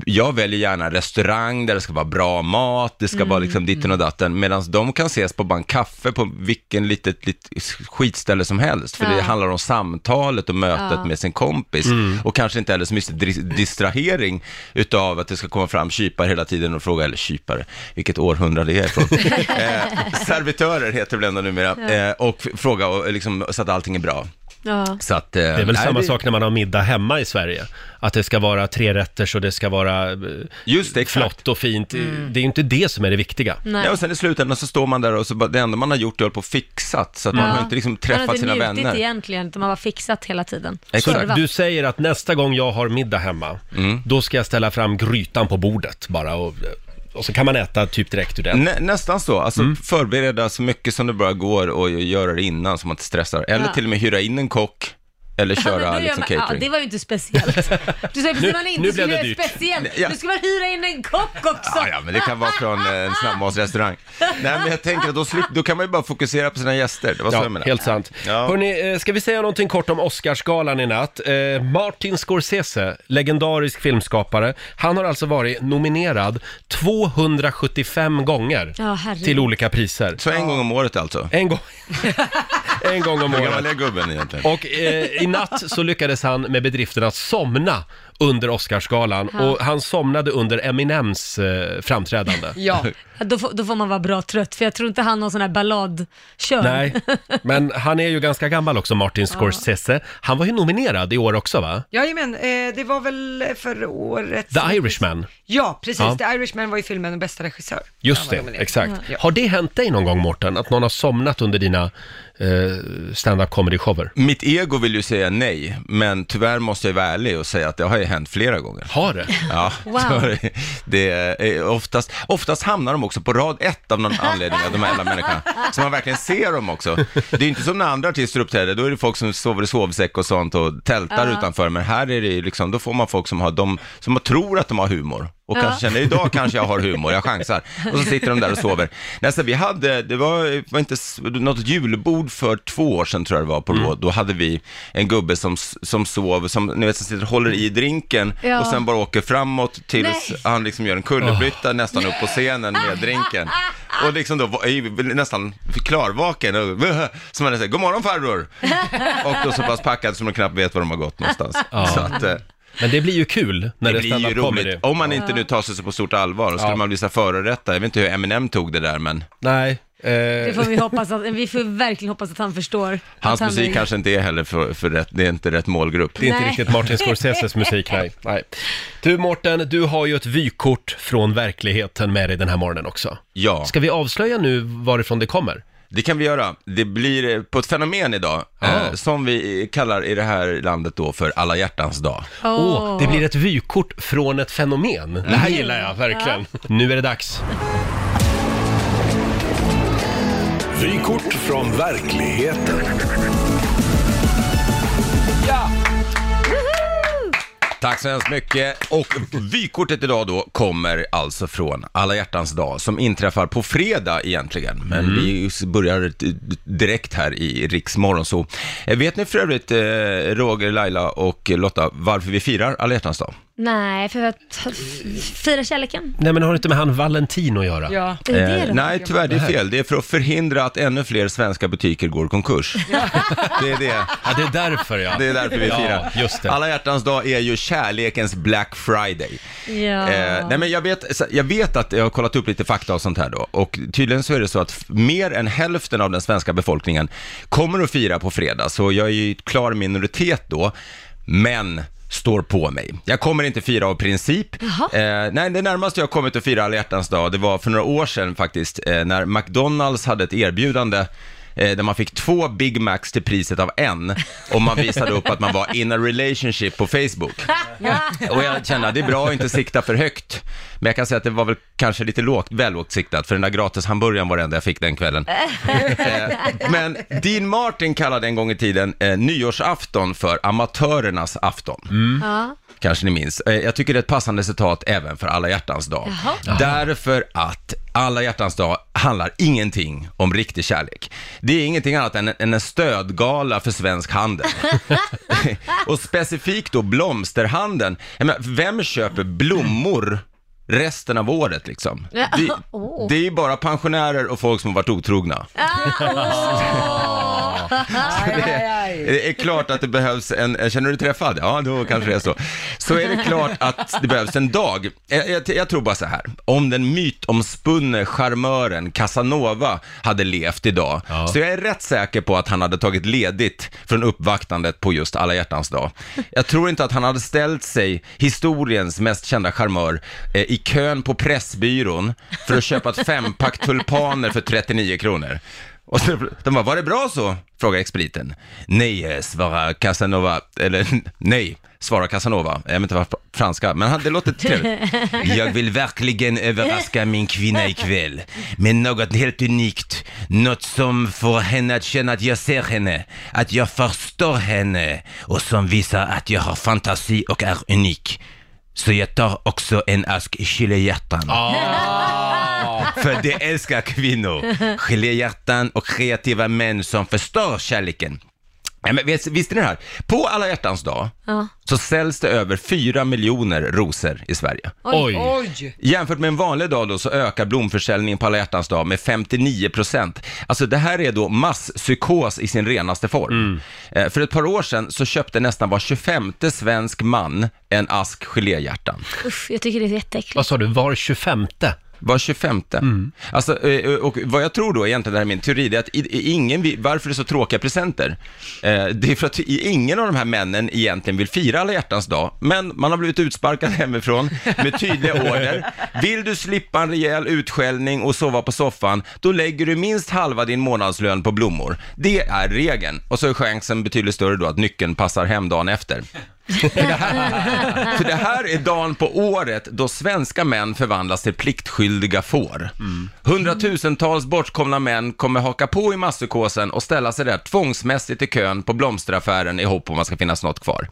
Speaker 8: jag väljer gärna restaurang där det ska vara bra mat, det ska vara
Speaker 2: Mm,
Speaker 8: liksom ditten och datten, medan de kan ses på bara en kaffe på vilken litet, litet skitställe som helst, för det
Speaker 2: Ja.
Speaker 8: handlar om samtalet och mötet
Speaker 2: Ja.
Speaker 8: med med sin kompis
Speaker 1: Mm.
Speaker 8: och kanske inte heller så mycket dri- distrahering utav att det ska komma fram kypare hela tiden och fråga, eller kypare, vilket århundrade det är ifrån. eh, servitörer heter det väl ändå numera, eh, och f- fråga och, liksom, så att allting är bra.
Speaker 2: Ja.
Speaker 8: Så att, eh,
Speaker 1: Det är väl samma sak när man har middag hemma i Sverige. Att det ska vara tre rätter så det ska vara eh,
Speaker 8: Just det, exakt.
Speaker 1: flott och fint.
Speaker 2: Mm.
Speaker 1: Det är ju inte det som är det viktiga.
Speaker 2: Nej.
Speaker 8: Ja, och sen i slutändan så står man där och så bara, det enda man har gjort är att hålla på och fixat, så att man
Speaker 2: Ja.
Speaker 8: har inte liksom
Speaker 2: man har
Speaker 8: träffat
Speaker 2: inte
Speaker 8: sina
Speaker 2: njutit
Speaker 8: vänner.
Speaker 2: egentligen, utan man har fixat hela tiden.
Speaker 8: Exakt. Mm.
Speaker 2: Servat.
Speaker 1: Du säger att nästa gång jag har middag hemma, då ska jag ställa fram grytan på bordet bara och, och så kan man äta typ direkt ur den.
Speaker 8: Nä, nästan så, alltså
Speaker 2: Mm.
Speaker 8: förbereda så mycket som det bara går och göra det innan så man inte stressar. Eller
Speaker 2: Ja.
Speaker 8: till och med hyra in en kock, eller
Speaker 2: Ja, men
Speaker 8: köra
Speaker 2: då gör
Speaker 8: liksom
Speaker 2: man-
Speaker 8: catering.
Speaker 2: ja, det var ju inte speciellt. Du sa ju precis att man
Speaker 1: nu
Speaker 2: inte
Speaker 1: blev
Speaker 2: skulle
Speaker 1: det
Speaker 2: göra
Speaker 1: dyrt.
Speaker 2: speciellt.
Speaker 8: Ja.
Speaker 2: Du skulle väl hyra in en kock också?
Speaker 8: Ja, ja, men det kan vara från eh, en snabbmatsrestaurang. Nej, men jag tänker att då, slip, då kan man ju bara fokusera på sina gäster. Det var så jag
Speaker 1: Ja,
Speaker 8: menade.
Speaker 1: helt sant.
Speaker 8: Ja.
Speaker 1: Hörrni, eh, ska vi säga någonting kort om Oscarsgalan i natt? Eh, Martin Scorsese, legendarisk filmskapare, han har alltså varit nominerad 275 gånger
Speaker 2: Ja, herregud.
Speaker 1: till olika priser.
Speaker 8: Så en gång om året alltså.
Speaker 1: En gång, en gång om
Speaker 8: Hur
Speaker 1: året.
Speaker 8: gammal är gubben egentligen?
Speaker 1: Och eh, i natt så lyckades han med bedriften att somna under Oscarsgalan
Speaker 2: Ja.
Speaker 1: och han somnade under Eminems eh, framträdande.
Speaker 3: Ja,
Speaker 2: Ja, Då, får, då får man vara bra trött, för jag tror inte han har sån här balladkör.
Speaker 1: Nej, men han är ju ganska gammal också, Martin Scorsese. Han var ju nominerad i år också va?
Speaker 3: jajamän, eh, det var väl för året...
Speaker 1: The Irishman.
Speaker 3: Ja, precis.
Speaker 1: Ja.
Speaker 3: The Irishman var ju filmen med bästa regissör.
Speaker 1: Just
Speaker 3: Han var
Speaker 1: det,
Speaker 3: nominerad.
Speaker 1: exakt.
Speaker 3: Ja.
Speaker 1: Har det hänt dig någon gång Mårten, att någon har somnat under dina eh, stand-up comedy-shower?
Speaker 8: Mitt ego vill ju säga nej, men tyvärr måste jag vara ärlig och säga att det har ju hänt flera gånger.
Speaker 1: Har det?
Speaker 8: Ja,
Speaker 2: Wow.
Speaker 8: så det är eh, oftast, oftast hamnar de också på rad ett av någon anledning, av de här jävla människorna. Så man verkligen ser dem också. Det är ju inte som när andra artister uppträder, då är det folk som sover i sovsäck och sånt och tältar utanför. Men här är det ju liksom, då får man folk som har de, som man tror att de har humor. Och kanske känner, idag kanske jag har humor, jag chansar. Och så sitter de där och sover. Nästa, vi hade, det var, var inte s- något julbord för två år sedan tror jag det var på
Speaker 2: Mm.
Speaker 8: Rå. Då hade vi en gubbe som, s- som sov, som ni vet, som sitter och håller i drinken
Speaker 2: Ja.
Speaker 8: och sen bara åker framåt tills
Speaker 2: Nej.
Speaker 8: han liksom gör en kullerbytta nästan upp på scenen med drinken. Och liksom då var- är ju nästan klarvaken, och, som man säger, god morgon farbror! Och då så pass packad som de knappt vet var de har gått någonstans. Så att, eh,
Speaker 1: Men det blir ju kul när
Speaker 8: det
Speaker 1: det,
Speaker 8: blir ju
Speaker 1: stand-up comedy.
Speaker 8: roligt, om man inte nu tar sig så på stort allvar, då skulle
Speaker 1: Ja.
Speaker 8: man bli så här förorättad. Jag vet inte hur Eminem tog det där, men
Speaker 1: Nej, eh,
Speaker 2: Det får vi hoppas att, vi får verkligen hoppas att han förstår.
Speaker 8: Hans
Speaker 2: att han
Speaker 8: musik kanske inte är heller för, för rätt, det är inte rätt målgrupp.
Speaker 1: Det är inte
Speaker 2: Nej.
Speaker 1: riktigt Martin Scorseses musik, nej. nej. Du Mårten, du har ju ett vykort från verkligheten med dig den här morgonen också.
Speaker 8: Ja,
Speaker 1: Ska vi avslöja nu varifrån det kommer?
Speaker 8: det kan vi göra. Det blir eh, på ett fenomen idag, eh,
Speaker 1: Ah.
Speaker 8: som vi kallar i det här landet då för alla hjärtans dag.
Speaker 1: Åh, det blir ett vykort från ett fenomen. Det här gillar jag verkligen. Mm. Nu är det dags.
Speaker 6: Vykort från verkligheten.
Speaker 8: Tack så hemskt mycket. Och vykortet idag då kommer alltså från Alla hjärtans dag som inträffar på fredag egentligen. Men vi börjar d- d- direkt här i Riksmorgon. Så eh, vet ni för övrigt, eh, Roger, Laila och Lotta, varför vi firar Alla hjärtans dag?
Speaker 2: Nej, för att fira kärleken.
Speaker 1: Nej men har det inte med han Valentin att göra?
Speaker 3: Ja.
Speaker 2: Det är det
Speaker 8: Eh,
Speaker 2: då.
Speaker 8: nej, tyvärr, det är fel. Det är för att förhindra att ännu fler svenska butiker går i konkurs. det är det.
Speaker 1: Ja, det är därför ja.
Speaker 8: Det är därför vi firar.
Speaker 1: Ja, just det.
Speaker 8: Alla hjärtans dag är ju kärlekens Black Friday.
Speaker 2: Ja.
Speaker 8: Eh, nej men jag vet, så- jag vet att jag har kollat upp lite fakta och sånt här då och tydligen så är det så att f- mer än hälften av den svenska befolkningen kommer att fira på fredag så jag är ju i klar minoritet då men står på mig. Jag kommer inte fira av princip. Eh, nej, det närmaste jag kommit att fira alla hjärtans dag, det var för några år sedan faktiskt, eh, när McDonalds hade ett erbjudande eh, där man fick två Big Macs till priset av en om man visade upp att man var in a relationship på Facebook. Och jag kände att det är bra att inte sikta för högt. Men jag kan säga att det var väl kanske lite lågt, väl lågt siktat, för den där gratishamburgaren var det enda jag fick den kvällen. Eh, Men Dean Martin kallade en gång i tiden eh, nyårsafton för amatörernas afton.
Speaker 2: Ja.
Speaker 8: Kanske ni minns. Eh, Jag tycker det är ett passande citat även för alla hjärtans dag. Därför att alla hjärtans dag handlar ingenting om riktig kärlek. Det är ingenting annat än än en stödgala för svensk handel. Och specifikt då blomsterhandeln. Jag menar, vem köper blommor resten av året liksom?
Speaker 2: Ja,
Speaker 8: Det,
Speaker 2: åh. Ah,
Speaker 8: det är ju bara pensionärer och folk som har varit otrogna. Det är klart att det behövs en, känner du dig träffad? Ja, då kanske det är så. Så är det klart att det behövs en dag. Jag, jag, jag tror bara så här, om den mytomspunne charmören Casanova hade levt idag,
Speaker 1: Ja.
Speaker 8: så jag är rätt säker på att han hade tagit ledigt från uppvaktandet på just alla hjärtans dag. Jag tror inte att han hade ställt sig, historiens mest kända charmör, eh, i kön på Pressbyrån för att köpa ett fempack tulpaner för 39 kronor. Och så, de bara, var det bra så? Frågar expediten. Nej, eh, svarar Casanova, eller nej, svarar Casanova. Jag vet inte vad franska, men han- det låter trevligt. Jag vill verkligen överraska min kvinna ikväll med något helt unikt. Något som får henne att känna att jag ser henne, att jag förstår henne och som visar att jag har fantasi och är unik. Så jag tar också en ask geléhjärtan. För det älskar kvinnor. Geléhjärtan och kreativa män som förstör kärleken. Ja, men vet, visste ni det här? På alla hjärtans dag
Speaker 2: Ja.
Speaker 8: så säljs det över 4 miljoner rosor i Sverige.
Speaker 1: Oj.
Speaker 3: Oj!
Speaker 8: Jämfört med en vanlig dag då så ökar blomförsäljningen på alla hjärtans dag med 59 Alltså det här är då masspsykos i sin renaste form. Eh, För ett par år sedan så köpte nästan var 25 svensk man en ask geléhjärtan.
Speaker 2: Usch, jag tycker det är jätteäckligt.
Speaker 1: Vad sa du, var 25?
Speaker 8: Var 25. Alltså, eh, och vad jag tror då egentligen, det här är min teori, det är att i- i- ingen, vi- varför det är så tråkiga presenter? Eh, Det är för att i- ingen av de här männen egentligen vill fira alla hjärtans dag, men man har blivit utsparkad hemifrån med tydliga order. Vill du slippa en rejäl utskällning och sova på soffan, då lägger du minst halva din månadslön på blommor. Det är regeln. Och så är chansen betydligt större då att nyckeln passar hem dagen efter. För det här är dagen på året då svenska män förvandlas till pliktskyldiga får. Hundratusentals bortkomna män kommer haka på i masspsykosen och ställa sig där tvångsmässigt i kön på blomsteraffären i hopp om att det ska finnas något kvar.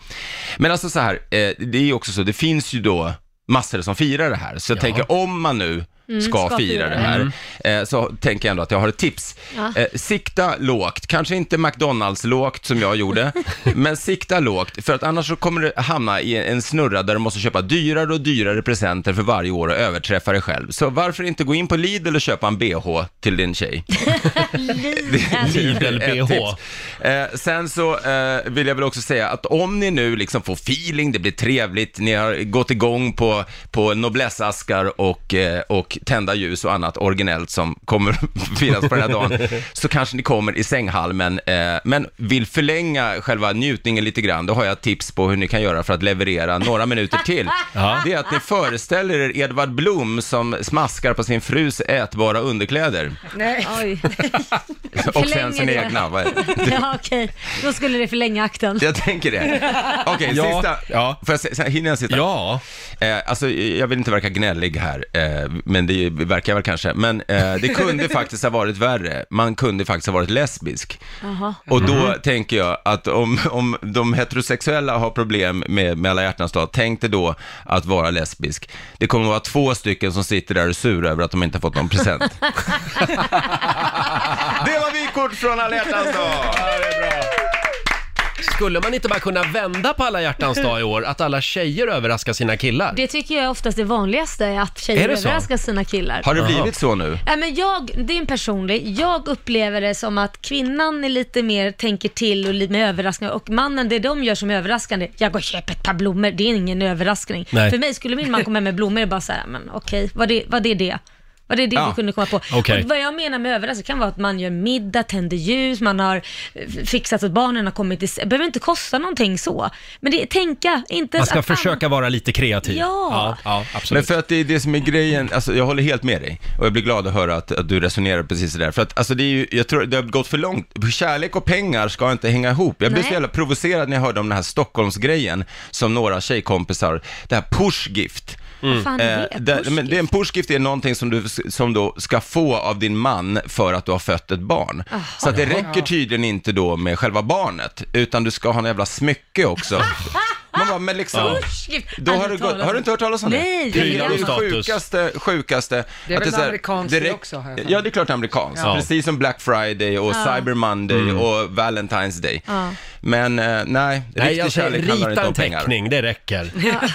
Speaker 8: Men alltså så här, eh, det är ju också så, det finns ju då massor som firar det här. Så jag tänker om man nu ska, fira
Speaker 2: ska fira
Speaker 8: det här, eh, så tänker jag ändå att jag har ett tips. Eh, sikta lågt, kanske inte McDonalds-lågt som jag gjorde, men sikta lågt, för att annars så kommer du hamna i en snurra där du måste köpa dyrare och dyrare presenter för varje år och överträffa dig själv. Så varför inte gå in på Lidl och köpa en bh till din tjej? Ett
Speaker 1: Lidl-bh.
Speaker 8: tips. Eh, sen så eh, vill jag väl också säga att om ni nu liksom får feeling, det blir trevligt, ni har gått igång på, på noblessaskar och, eh, och tända ljus och annat originellt som kommer finnas på den här dagen, så kanske ni kommer i sänghalmen. Eh, men vill förlänga själva njutningen lite grann, då har jag tips på hur ni kan göra för att leverera några minuter till.
Speaker 1: Ja.
Speaker 8: Det är att ni föreställer er Edvard Blom som smaskar på sin frus ätbara underkläder.
Speaker 3: Nej.
Speaker 2: Oj.
Speaker 8: Och
Speaker 2: Förlänger
Speaker 8: sen sina
Speaker 2: det.
Speaker 8: egna. Vad är det?
Speaker 2: ja, okej. Då skulle det förlänga akten.
Speaker 8: Jag tänker det. Okej,
Speaker 1: Ja,
Speaker 8: sista.
Speaker 1: ja.
Speaker 8: Får jag, se- se- hinner jag sista?
Speaker 1: Ja,
Speaker 8: Eh, alltså, jag vill inte verka gnällig här, eh, men det verkar jag väl kanske. Men eh, det kunde faktiskt ha varit värre. Man kunde faktiskt ha varit lesbisk.
Speaker 2: Jaha.
Speaker 8: Och då
Speaker 1: Mhm.
Speaker 8: tänker jag att om, om de heterosexuella har problem med, med alla hjärtans dag, tänk dig då att vara lesbisk. Det kommer att vara två stycken som sitter där och är sura över att de inte har fått någon present. det var vykort från alla hjärtans dag!
Speaker 1: skulle man inte bara kunna vända på alla hjärtans dag i år, att alla tjejer överraskar sina killar?
Speaker 2: Det tycker jag är oftast det vanligaste, att
Speaker 1: Är
Speaker 2: tjejer
Speaker 1: det så?
Speaker 2: överraskar sina killar.
Speaker 8: Har det blivit så nu?
Speaker 2: Nej, Äh, men jag, det är en personlig, jag upplever det som att kvinnan är lite mer tänker till och lite mer överraskande och mannen, det de gör som är överraskande, jag går och köper ett par blommor, det är ingen överraskning.
Speaker 1: Nej.
Speaker 2: För mig skulle min man komma hem med blommor och bara såhär, men okej, vad det, vad det är det? Vad det är det
Speaker 8: Ja.
Speaker 2: vi kunde komma på.
Speaker 1: Okej.
Speaker 2: Och vad jag menar med överraskning kan vara att man gör middag, tänder ljus, man har eh, fixat att barnen har kommit i s- Det behöver inte kosta någonting så. Men det, tänka, inte
Speaker 1: Man ska
Speaker 2: att-
Speaker 1: försöka vara lite kreativ.
Speaker 2: Ja.
Speaker 1: ja, ja
Speaker 8: Men
Speaker 1: absolut.
Speaker 8: för att det är det som är grejen, alltså jag håller helt med dig och jag blir glad att höra att, att du resonerar precis sådär. För att alltså det är ju, jag tror det har gått för långt. Kärlek och pengar ska inte hänga ihop. Jag blev
Speaker 2: Nej.
Speaker 8: så jävla provocerad när jag hörde om den här Stockholmsgrejen som några tjejkompisar, det här pushgift.
Speaker 2: Vad fan
Speaker 1: Mm.
Speaker 2: är det?
Speaker 8: Eh, där- men det är en pushgift är någonting som du som då ska få av din man för att du har fött ett barn.
Speaker 2: Ah.
Speaker 8: Så att det räcker tydligen inte då med själva barnet, utan du ska ha en jävla smycke också. Man bara, men liksom,
Speaker 2: Pushgift.
Speaker 8: då har,
Speaker 2: Aldrig
Speaker 8: du
Speaker 2: talat
Speaker 8: gått, har
Speaker 2: om det.
Speaker 8: du inte hört talas om det?
Speaker 2: Nej,
Speaker 8: det är
Speaker 1: det är
Speaker 8: det
Speaker 1: gammalt.
Speaker 8: sjukaste, sjukaste.
Speaker 3: Det är väl
Speaker 8: så här,
Speaker 3: amerikanskt
Speaker 8: direkt-
Speaker 3: också, har jag för mig.
Speaker 8: Ja, det är klart amerikanskt.
Speaker 1: Ja. Mm.
Speaker 8: Precis som Black Friday och Cyber Monday och Valentine's Day. Men eh, nej,
Speaker 1: Nej,
Speaker 8: riktig
Speaker 1: jag säger,
Speaker 8: kärlek handlar
Speaker 1: rita
Speaker 8: inte om
Speaker 1: en
Speaker 8: pengar.
Speaker 1: teckning, det räcker.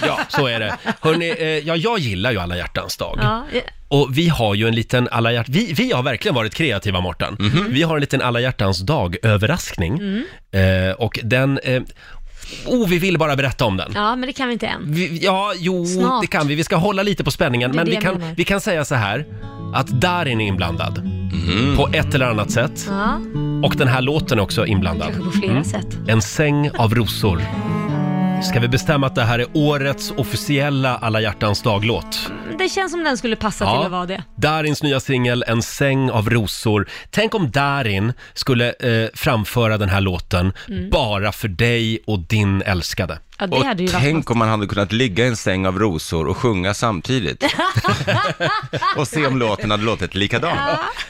Speaker 1: Ja, så är det. Hörrni, eh, ja, jag gillar ju alla hjärtans dag.
Speaker 2: Ja, ja.
Speaker 1: Och vi har ju en liten alla hjärt... vi, vi har verkligen varit kreativa, Morten.
Speaker 8: Mhm.
Speaker 1: Vi har en liten alla hjärtans dag-överraskning.
Speaker 2: Mm.
Speaker 1: Eh, och den... Eh... Oh, vi vill bara berätta om den.
Speaker 2: Ja, men det kan vi inte än.
Speaker 1: Vi, ja, jo,
Speaker 2: Snart.
Speaker 1: det kan vi. Vi ska hålla lite på spänningen.
Speaker 2: Det är
Speaker 1: Men
Speaker 2: det
Speaker 1: vi
Speaker 2: jag
Speaker 1: kan,
Speaker 2: menar.
Speaker 1: vi kan säga så här, att Darin är inblandad.
Speaker 8: Mhm.
Speaker 1: På ett eller annat sätt.
Speaker 2: Ja,
Speaker 1: Och den här låten är också inblandad.
Speaker 2: kanske på flera sätt.
Speaker 1: En säng av rosor. Ska vi bestämma att det här är årets officiella alla hjärtans dag-låt?
Speaker 2: Det känns som den skulle passa till att vara det.
Speaker 1: Darins nya singel En säng av rosor. Tänk om Darin skulle eh, framföra den här låten
Speaker 2: Mm.
Speaker 1: bara för dig och din älskade.
Speaker 2: Ja, det hade ju
Speaker 8: Och
Speaker 2: varit något.
Speaker 8: tänk om man hade kunnat ligga i en säng av rosor och sjunga samtidigt. och se om låten hade låtit likadan.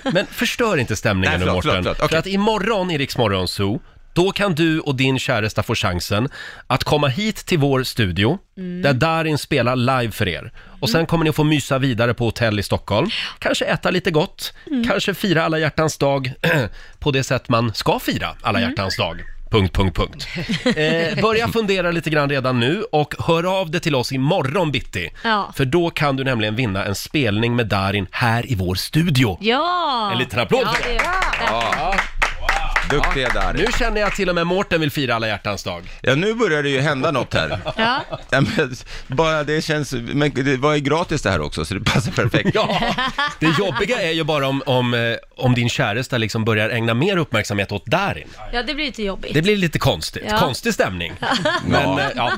Speaker 1: Men förstör inte stämningen
Speaker 8: Nej,
Speaker 1: nu
Speaker 8: förlåt,
Speaker 1: Mårten.
Speaker 8: förlåt, förlåt. Okej.
Speaker 1: För att imorgon i Rix Morgon Zoo, då kan du och din käresta få chansen att komma hit till vår studio, där Darin spelar live för er. Och sen kommer ni få mysa vidare på hotell i Stockholm. Kanske äta lite gott, kanske fira alla hjärtans dag på det sätt man ska fira alla hjärtans dag. Punkt, punkt, punkt. Eh, börja fundera lite grann redan nu och hör av dig till oss imorgon bitti.
Speaker 2: Ja.
Speaker 1: För då kan du nämligen vinna en spelning med Darin här i vår studio.
Speaker 2: Ja!
Speaker 1: En liten applåd
Speaker 2: ja,
Speaker 1: för det.
Speaker 2: det. Ja.
Speaker 8: Duktiga
Speaker 1: Nu
Speaker 8: där.
Speaker 1: känner jag till och med Mårten vill fira alla hjärtans dag.
Speaker 8: Ja, nu börjar det ju hända något här.
Speaker 2: Ja.
Speaker 8: Ja, men, bara det känns, men det var ju gratis det här också, så det passar perfekt.
Speaker 1: Ja, det jobbiga är ju bara om, om, eh, om din käresta liksom börjar ägna mer uppmärksamhet åt Darin.
Speaker 2: ja, det blir lite jobbigt.
Speaker 1: Det blir lite konstigt,
Speaker 2: Ja.
Speaker 1: konstig stämning. Men, eh, ja.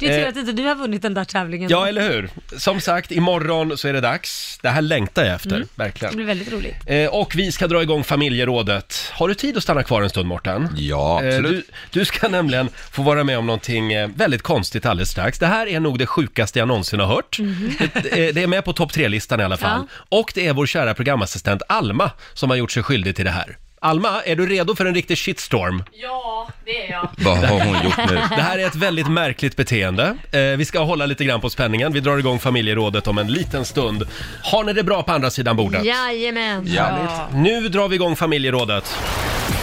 Speaker 2: Det är tur
Speaker 1: eh,
Speaker 2: att inte du har vunnit den där tävlingen.
Speaker 1: ja, eller hur? Som sagt, imorgon så är det dags. Det här längtar jag
Speaker 2: Mm.
Speaker 1: efter,
Speaker 2: Det
Speaker 1: verkligen.
Speaker 2: blir väldigt roligt.
Speaker 1: Eh, Och vi ska dra igång familjerådet. Har du tid att stanna kvar en stund, Mårten?
Speaker 8: Ja,
Speaker 1: Eh,
Speaker 8: absolut.
Speaker 1: Du, du ska nämligen få vara med om någonting eh, väldigt konstigt alldeles strax. Det här är nog det sjukaste jag någonsin har hört.
Speaker 8: Mhm.
Speaker 1: Det, eh, det är med på topp tre-listan i alla fall. Och det är vår kära programassistent Alma som har gjort sig skyldig till det här. Alma, är du redo för en riktig shitstorm?
Speaker 9: Ja, det är jag.
Speaker 8: Vad har hon gjort nu?
Speaker 1: Det här är ett väldigt märkligt beteende. Eh, vi ska hålla lite grann på spänningen. Vi drar igång familjerådet om en liten stund. Har ni det bra på andra sidan bordet?
Speaker 2: Jajamän.
Speaker 8: Ja.
Speaker 1: Nu drar vi igång familjerådet.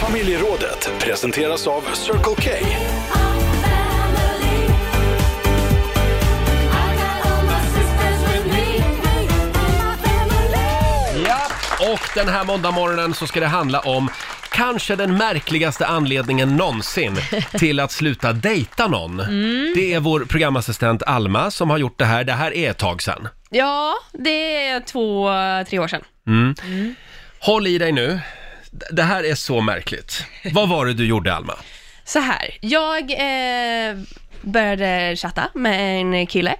Speaker 6: Familjerådet presenteras av Circle K.
Speaker 1: Ja, och den här måndagmorgonen så ska det handla om kanske den märkligaste anledningen någonsin till att sluta dejta någon.
Speaker 9: Mm.
Speaker 1: Det är vår programassistent Alma som har gjort det här. Det här är ett tag sedan.
Speaker 9: Ja, det är två, tre år sedan.
Speaker 1: Håll i dig nu. D- Det här är så märkligt. Vad var det du gjorde, Alma?
Speaker 9: Så här, jag eh, började chatta med en kille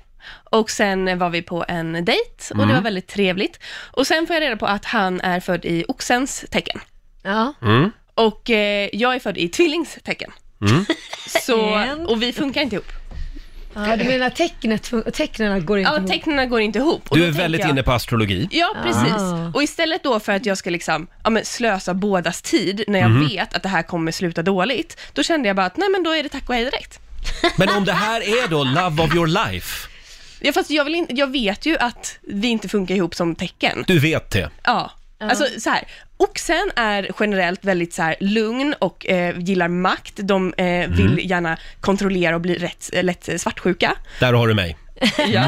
Speaker 9: och sen var vi på en dejt och
Speaker 1: Mm.
Speaker 9: det var väldigt trevligt. Och sen får jag reda på att han är född i oxens tecken
Speaker 2: Ja.
Speaker 1: Mm.
Speaker 9: och eh, jag är född i tvillings tecken. Så, och vi funkar inte ihop.
Speaker 2: ja, du menar tecknet, tecknen går inte
Speaker 9: Ja,
Speaker 2: ihop?
Speaker 9: tecknen går inte ihop. Och
Speaker 1: Du
Speaker 9: då
Speaker 1: är
Speaker 9: tänker
Speaker 1: väldigt
Speaker 9: jag-
Speaker 1: inne på astrologi.
Speaker 9: Ja, precis.
Speaker 2: Ah.
Speaker 9: Och istället då för att jag ska liksom, ja, men slösa bådas tid när jag vet att det här kommer sluta dåligt, då kände jag bara att nej men då är det tack och hej direkt.
Speaker 1: Men om det här är då love of your life,
Speaker 9: Ja, fast jag, vill in, jag vet ju att vi inte funkar ihop som tecken.
Speaker 1: du vet det.
Speaker 9: Ja. Alltså så här, oxen är generellt väldigt så här, lugn och eh, gillar makt. De eh, vill gärna kontrollera och bli rätt, eh, lätt eh, svartsjuka. Eh,
Speaker 1: Där har du mig.
Speaker 9: Ja.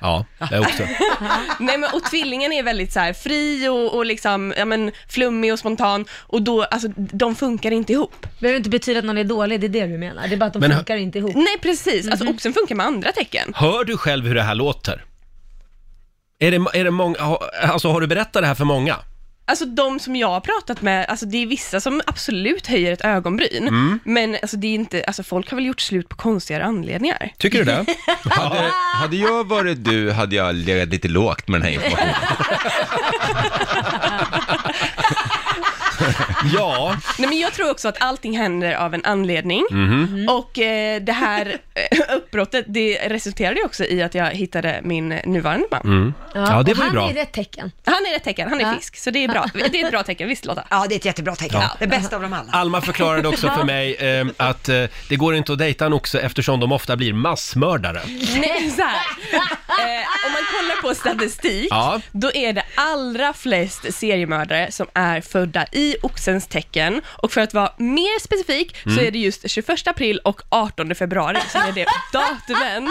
Speaker 1: Ja, jag också.
Speaker 9: Nej, men, och tvillingen är väldigt så här, fri och, och liksom, ja, men, flummig och spontan och då, alltså, de funkar inte ihop.
Speaker 2: behöver inte betyda att någon är dålig, det är det du menar. Det är bara att de
Speaker 1: Men-
Speaker 2: funkar inte ihop.
Speaker 9: Nej, precis. Alltså oxen funkar med andra tecken.
Speaker 1: Hör du själv hur det här låter? Är det, är det många, ha- alltså har du berättat det här för många?
Speaker 9: Alltså de som jag har pratat med, alltså det är vissa som absolut höjer ett ögonbryn, men alltså det är inte, alltså folk har väl gjort slut på konstigare anledningar.
Speaker 1: Tycker du det?
Speaker 8: Hade, hade jag varit du hade jag legat lite lågt med den här informationen.
Speaker 1: Ja,
Speaker 9: Nej men jag tror också att allting händer av en anledning, och eh, det här eh, uppbrottet, det resulterade ju också i att jag hittade min nuvarande man.
Speaker 1: Ja, det
Speaker 2: och
Speaker 1: var ju
Speaker 2: han
Speaker 1: bra.
Speaker 2: är rätt tecken.
Speaker 9: Han är ett tecken, han är
Speaker 2: Ja.
Speaker 9: fisk, så det är bra. Det är ett bra tecken, visst Lotta?
Speaker 3: Ja, det är ett jättebra tecken. Det bästa av dem alla.
Speaker 1: Alma förklarade också för mig eh, att eh, det går inte att dejta en oxe eftersom de ofta blir massmördare.
Speaker 9: Nej, så här. Eh, om man kollar på statistik,
Speaker 1: Ja.
Speaker 9: då är det allra flest seriemördare som är födda i oxens tecken. Och för att vara mer specifik så är det just 21 april och 18 februari som är det datumen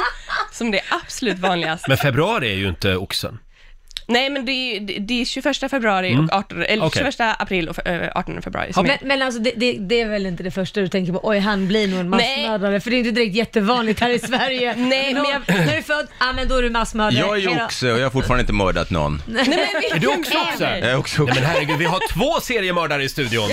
Speaker 9: som det är absolut vanligast.
Speaker 1: Men februari är ju inte oxen.
Speaker 9: Nej, men det är, det- det är 21 februari och 18, eller
Speaker 1: Okej.
Speaker 9: 21 april och eh, 18 februari som
Speaker 2: Men,
Speaker 9: är...
Speaker 2: men alltså det, det, det är väl inte det första du tänker på, oj han blir nog en
Speaker 9: Nej.
Speaker 2: massmördare, för det är inte direkt jättevanligt här i Sverige.
Speaker 9: Nej, men
Speaker 2: Någon-
Speaker 9: jag-
Speaker 2: När du är född, ja men då är du massmördare.
Speaker 8: Jag är
Speaker 2: Hej
Speaker 8: ju
Speaker 2: då.
Speaker 8: oxe och jag har fortfarande inte mördat någon.
Speaker 9: Nej, men
Speaker 1: Är
Speaker 9: vi-
Speaker 1: du också oxe?
Speaker 8: Jag är också
Speaker 1: Nej men
Speaker 8: oxe.
Speaker 1: herregud, vi har två seriemördare i studion.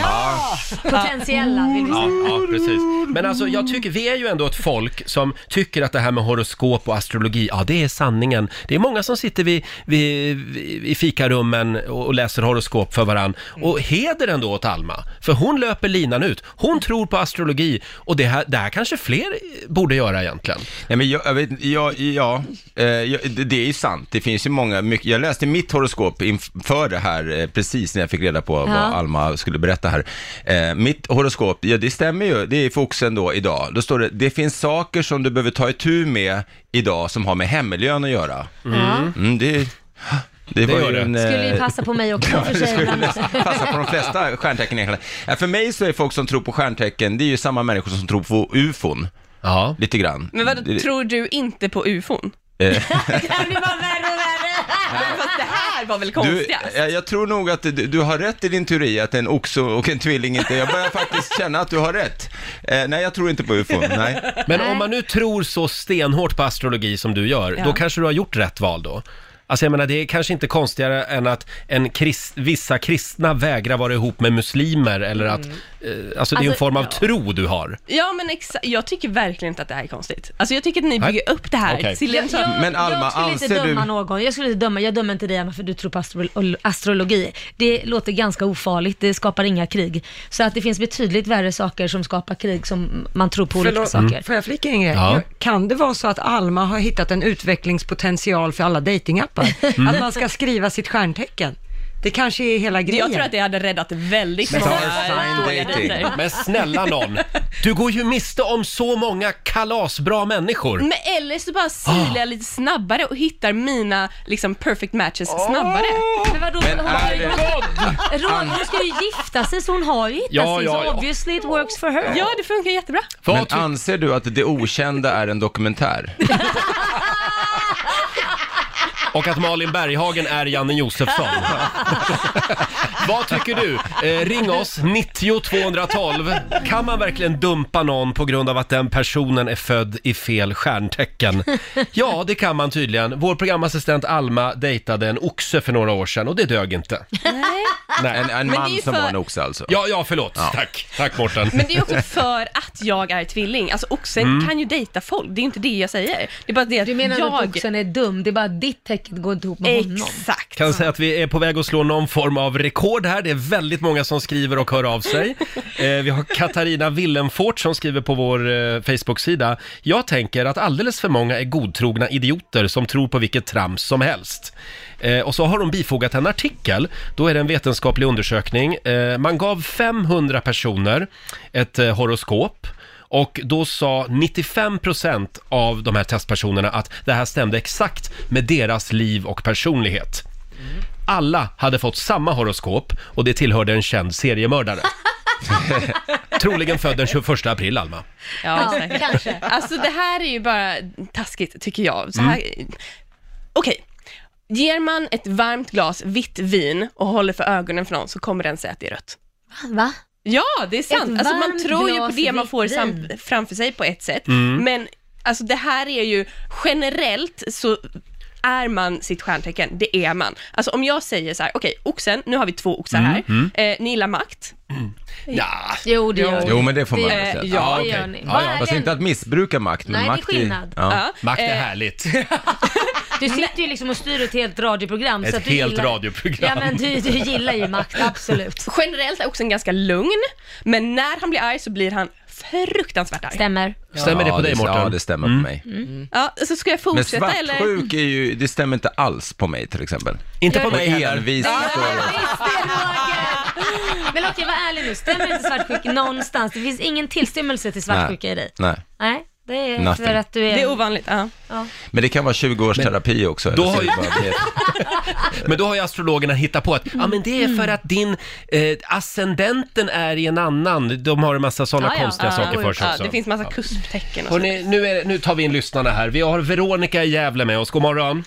Speaker 2: Potentiella vill vi
Speaker 1: Ja, ja, precis. Men alltså jag tycker, vi är ju ändå ett folk som tycker att det här med horoskop och astrologi, ja det är sanningen. Det är många som sitter vid, vid, vid, i fikarummen och och läser horoskop för varann. Och heder ändå åt Alma, för hon löper linan ut. Hon tror på astrologi och det här, det här kanske fler eh, borde göra egentligen.
Speaker 8: Nej, men jag, jag vet ja, ja, eh, jag, det det är ju sant. Det finns ju många, mycket, jag läste mitt horoskop inför det här, eh, precis när jag fick reda på vad Alma skulle berätta här. Eh, mitt horoskop, ja det stämmer ju, det är fokusen då idag. Då står det, det finns saker som du behöver ta itu med idag som har med hemmiljön att göra.
Speaker 2: Ja.
Speaker 8: Mm, det, det var
Speaker 1: gör
Speaker 8: ju
Speaker 1: det.
Speaker 8: en... eh,
Speaker 2: Skulle ju passa på mig också för sig. ibland.
Speaker 8: passar på de flesta stjärntecken egentligen. Ja, för mig så är folk som tror på stjärntecken, det är ju samma människor som tror på ufon,
Speaker 1: Ja.
Speaker 8: lite grann.
Speaker 9: men
Speaker 8: Det-
Speaker 9: vadå, tror du inte på ufon?
Speaker 2: Det här blir bara värre och värre.
Speaker 9: Fast det här var väl
Speaker 8: Du,
Speaker 9: konstigast?
Speaker 8: jag, jag tror nog att du, du har rätt i din teori att en oxe och en tvilling inte, jag börjar faktiskt känna att du har rätt. Eh, nej, jag tror inte på ufon, nej.
Speaker 1: Men om man nu tror så stenhårt på astrologi som du gör, då
Speaker 9: Ja.
Speaker 1: kanske du har gjort rätt val då? Alltså jag menar, det är kanske inte konstigare än att en krist, vissa kristna vägrar vara ihop med muslimer eller att... Eh, alltså det är ju en
Speaker 2: Alltså,
Speaker 1: form av
Speaker 2: ja.
Speaker 1: tro du har.
Speaker 9: Ja men exakt, jag tycker verkligen inte att det här är konstigt. Alltså jag tycker att ni bygger upp det här
Speaker 1: Okej.
Speaker 9: till en
Speaker 2: Jag,
Speaker 9: sån...
Speaker 2: jag,
Speaker 8: Men Alma,
Speaker 2: jag skulle inte
Speaker 8: anser
Speaker 2: döma
Speaker 8: du-
Speaker 2: någon. Jag skulle inte döma, jag dömer inte dig Alma för du tror på astro- astrologi. Det låter ganska ofarligt, det skapar inga krig. Så att det finns betydligt värre saker som skapar krig som man tror på olika
Speaker 3: Förlåt, Mm.
Speaker 2: saker.
Speaker 3: får jag flika in en grej?
Speaker 1: Ja.
Speaker 3: Kan det vara så att Alma har hittat en utvecklingspotential för alla datingappar?
Speaker 1: Mm.
Speaker 3: Att man ska skriva sitt stjärntecken? Det kanske är hela grejen.
Speaker 9: Jag tror att det hade räddat väldigt
Speaker 8: Men
Speaker 9: många
Speaker 8: ta en
Speaker 9: dåliga
Speaker 8: sign dating.
Speaker 9: dejter.
Speaker 1: Men snälla någon, du går ju miste om så många kalasbra människor.
Speaker 9: Men eller så bara silar jag lite snabbare och hittar mina liksom perfect matches snabbare.
Speaker 2: Men vadå,
Speaker 8: Men
Speaker 2: hon har
Speaker 8: är
Speaker 2: ju...
Speaker 8: det...
Speaker 2: Roger, hon ska ju gifta sig så hon har ju hittat
Speaker 1: Ja,
Speaker 2: sig,
Speaker 1: ja,
Speaker 2: så
Speaker 1: ja.
Speaker 2: obviously it works for her.
Speaker 9: Ja, det funkar jättebra.
Speaker 1: Vad
Speaker 8: Men
Speaker 1: ty-
Speaker 8: anser du att det okända är en dokumentär?
Speaker 1: Och att Malin Berghagen är Janne Josefsson. Vad tycker du? Eh, ring oss, 90 212. Kan man verkligen dumpa någon på grund av att den personen är född i fel stjärntecken? Ja, det kan man tydligen. Vår programassistent Alma dejtade en oxe för några år sedan och det dög inte.
Speaker 9: Nej.
Speaker 1: Nej.
Speaker 8: En, en
Speaker 9: det är
Speaker 8: man
Speaker 9: ju
Speaker 8: som
Speaker 9: för-
Speaker 8: var en oxe alltså.
Speaker 1: Ja, ja, förlåt. Tack. Tack Mårten.
Speaker 9: Men det är också för att jag är tvilling. Alltså oxen
Speaker 1: Mm.
Speaker 9: kan ju dejta folk, det är ju inte det jag säger. Det är bara det att
Speaker 2: Du menar
Speaker 9: jag...
Speaker 2: att boxen är dum, det är bara att ditt tecken går inte ihop med honom.
Speaker 9: Exakt.
Speaker 1: Kan säga att vi är på väg att slå någon form av rekord här. Det är väldigt många som skriver och hör av sig. Eh, vi har Katarina Willenfort som skriver på vår eh, Facebook-sida. Jag tänker att alldeles för många är godtrogna idioter som tror på vilket trams som helst. Eh, och så har de bifogat en artikel. Då är det en vetenskaplig undersökning. Eh, man gav 500 personer ett eh, horoskop. Och då sa 95% av de här testpersonerna att det här stämde exakt med deras liv och personlighet. Alla hade fått samma horoskop och det tillhörde en känd seriemördare. Troligen född den 21 april, Alma.
Speaker 9: Ja,
Speaker 2: Ja,
Speaker 9: säkert.
Speaker 2: kanske.
Speaker 9: Alltså det här är ju bara taskigt tycker jag. Så här... Okej. Ger man ett varmt glas vitt vin och håller för ögonen för någon så kommer den säga att det är rött.
Speaker 2: Va?
Speaker 9: Ja, det är sant.
Speaker 2: Ett
Speaker 9: Alltså man
Speaker 2: varmt
Speaker 9: tror ju på
Speaker 2: glas
Speaker 9: det man får
Speaker 2: vitt
Speaker 9: sam-
Speaker 2: vin.
Speaker 9: framför sig på ett sätt, men alltså det här är ju generellt så är man sitt stjärntecken, det är man. Alltså om jag säger så här, okej, oxen, nu har vi två oxar här, Eh, ni gillar makt,
Speaker 1: Ja,
Speaker 2: Jo, det gör
Speaker 8: Jo, men det får man väl
Speaker 2: Det-
Speaker 8: säga.
Speaker 2: Ja, det gör
Speaker 1: okej.
Speaker 2: ni.
Speaker 1: Ja,
Speaker 2: Vad
Speaker 1: ja.
Speaker 2: är
Speaker 8: Fast
Speaker 2: det-
Speaker 8: inte att missbruka makt, men
Speaker 2: Nej, det är
Speaker 8: makt
Speaker 2: skillnad.
Speaker 8: Ja.
Speaker 1: makt är
Speaker 9: Eh,
Speaker 1: härligt.
Speaker 2: Du sitter ju liksom och styr ett helt radioprogram.
Speaker 1: Ett
Speaker 2: så att du
Speaker 1: helt
Speaker 2: gillar...
Speaker 1: radioprogram.
Speaker 2: Ja, men du, du gillar ju makt, absolut.
Speaker 9: Generellt är oxen ganska lugn, men när han blir arg så blir han fruktansvärt arg.
Speaker 2: Stämmer.
Speaker 1: Stämmer det på
Speaker 8: Ja,
Speaker 1: dig,
Speaker 8: Ja,
Speaker 1: Mårten? Mm.
Speaker 8: det stämmer på
Speaker 2: Mm.
Speaker 8: mig.
Speaker 9: Ja, så ska jag
Speaker 8: Men
Speaker 9: fortsätta eller?
Speaker 8: svartsjuk är ju, det stämmer inte alls på mig till exempel.
Speaker 1: Inte på
Speaker 8: Och
Speaker 1: mig heller.
Speaker 8: envis.
Speaker 2: Visst är det, Roger. Men okej, var ärlig nu. Stämmer inte svartsjuka någonstå?s Det finns ingen tillstymmelse till svartsjuka i dig?
Speaker 8: Nej.
Speaker 2: Nej, det är
Speaker 8: Nothing.
Speaker 2: för att du är...
Speaker 9: Det är ovanligt, ja.
Speaker 8: Men det kan vara 20 års terapi också.
Speaker 1: då
Speaker 8: eller så
Speaker 1: har
Speaker 8: är det bara det.
Speaker 1: Men då har ju astrologerna hittat på att ja, men det
Speaker 2: Mm.
Speaker 1: är för att din eh, ascendenten är i en annan. De har en massa sådana
Speaker 2: Ja, ja.
Speaker 1: konstiga
Speaker 2: Ja,
Speaker 1: saker för sig
Speaker 9: ja
Speaker 1: också.
Speaker 9: det finns massa kusptecken och så.
Speaker 1: Hörrni, nu, är, nu tar vi in lyssnarna här. Vi har Veronica i Gävle med oss. God morgon.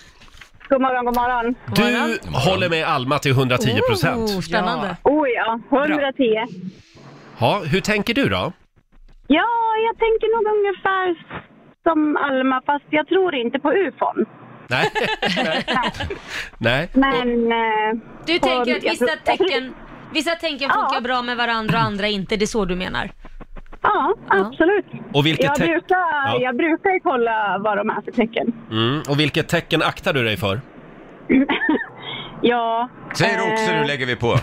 Speaker 10: God morgon, god morgon.
Speaker 1: Du håller med Alma till 110 procent.
Speaker 2: Oh, spännande.
Speaker 10: Oh ja, 110.
Speaker 1: Ja, hur tänker du då?
Speaker 10: Ja, jag tänker nog ungefär som Alma, fast jag tror inte på ufon.
Speaker 1: Nej. Nej. Nej.
Speaker 10: Men... eh,
Speaker 2: Du
Speaker 10: på-
Speaker 2: tänker att
Speaker 10: jag
Speaker 2: vissa
Speaker 10: tror- jag tror-
Speaker 2: tecken, vissa tecken funkar
Speaker 10: Ja.
Speaker 2: bra med varandra och andra inte, det är så du menar?
Speaker 10: Ja, absolut.
Speaker 1: Och vilket,
Speaker 10: Jag
Speaker 1: te-
Speaker 10: brukar,
Speaker 1: Ja.
Speaker 10: jag brukar ju kolla vad de är för tecken.
Speaker 1: mm, och vilket tecken aktar du dig för?
Speaker 10: Ja,
Speaker 8: Säger du också, nu lägger vi på.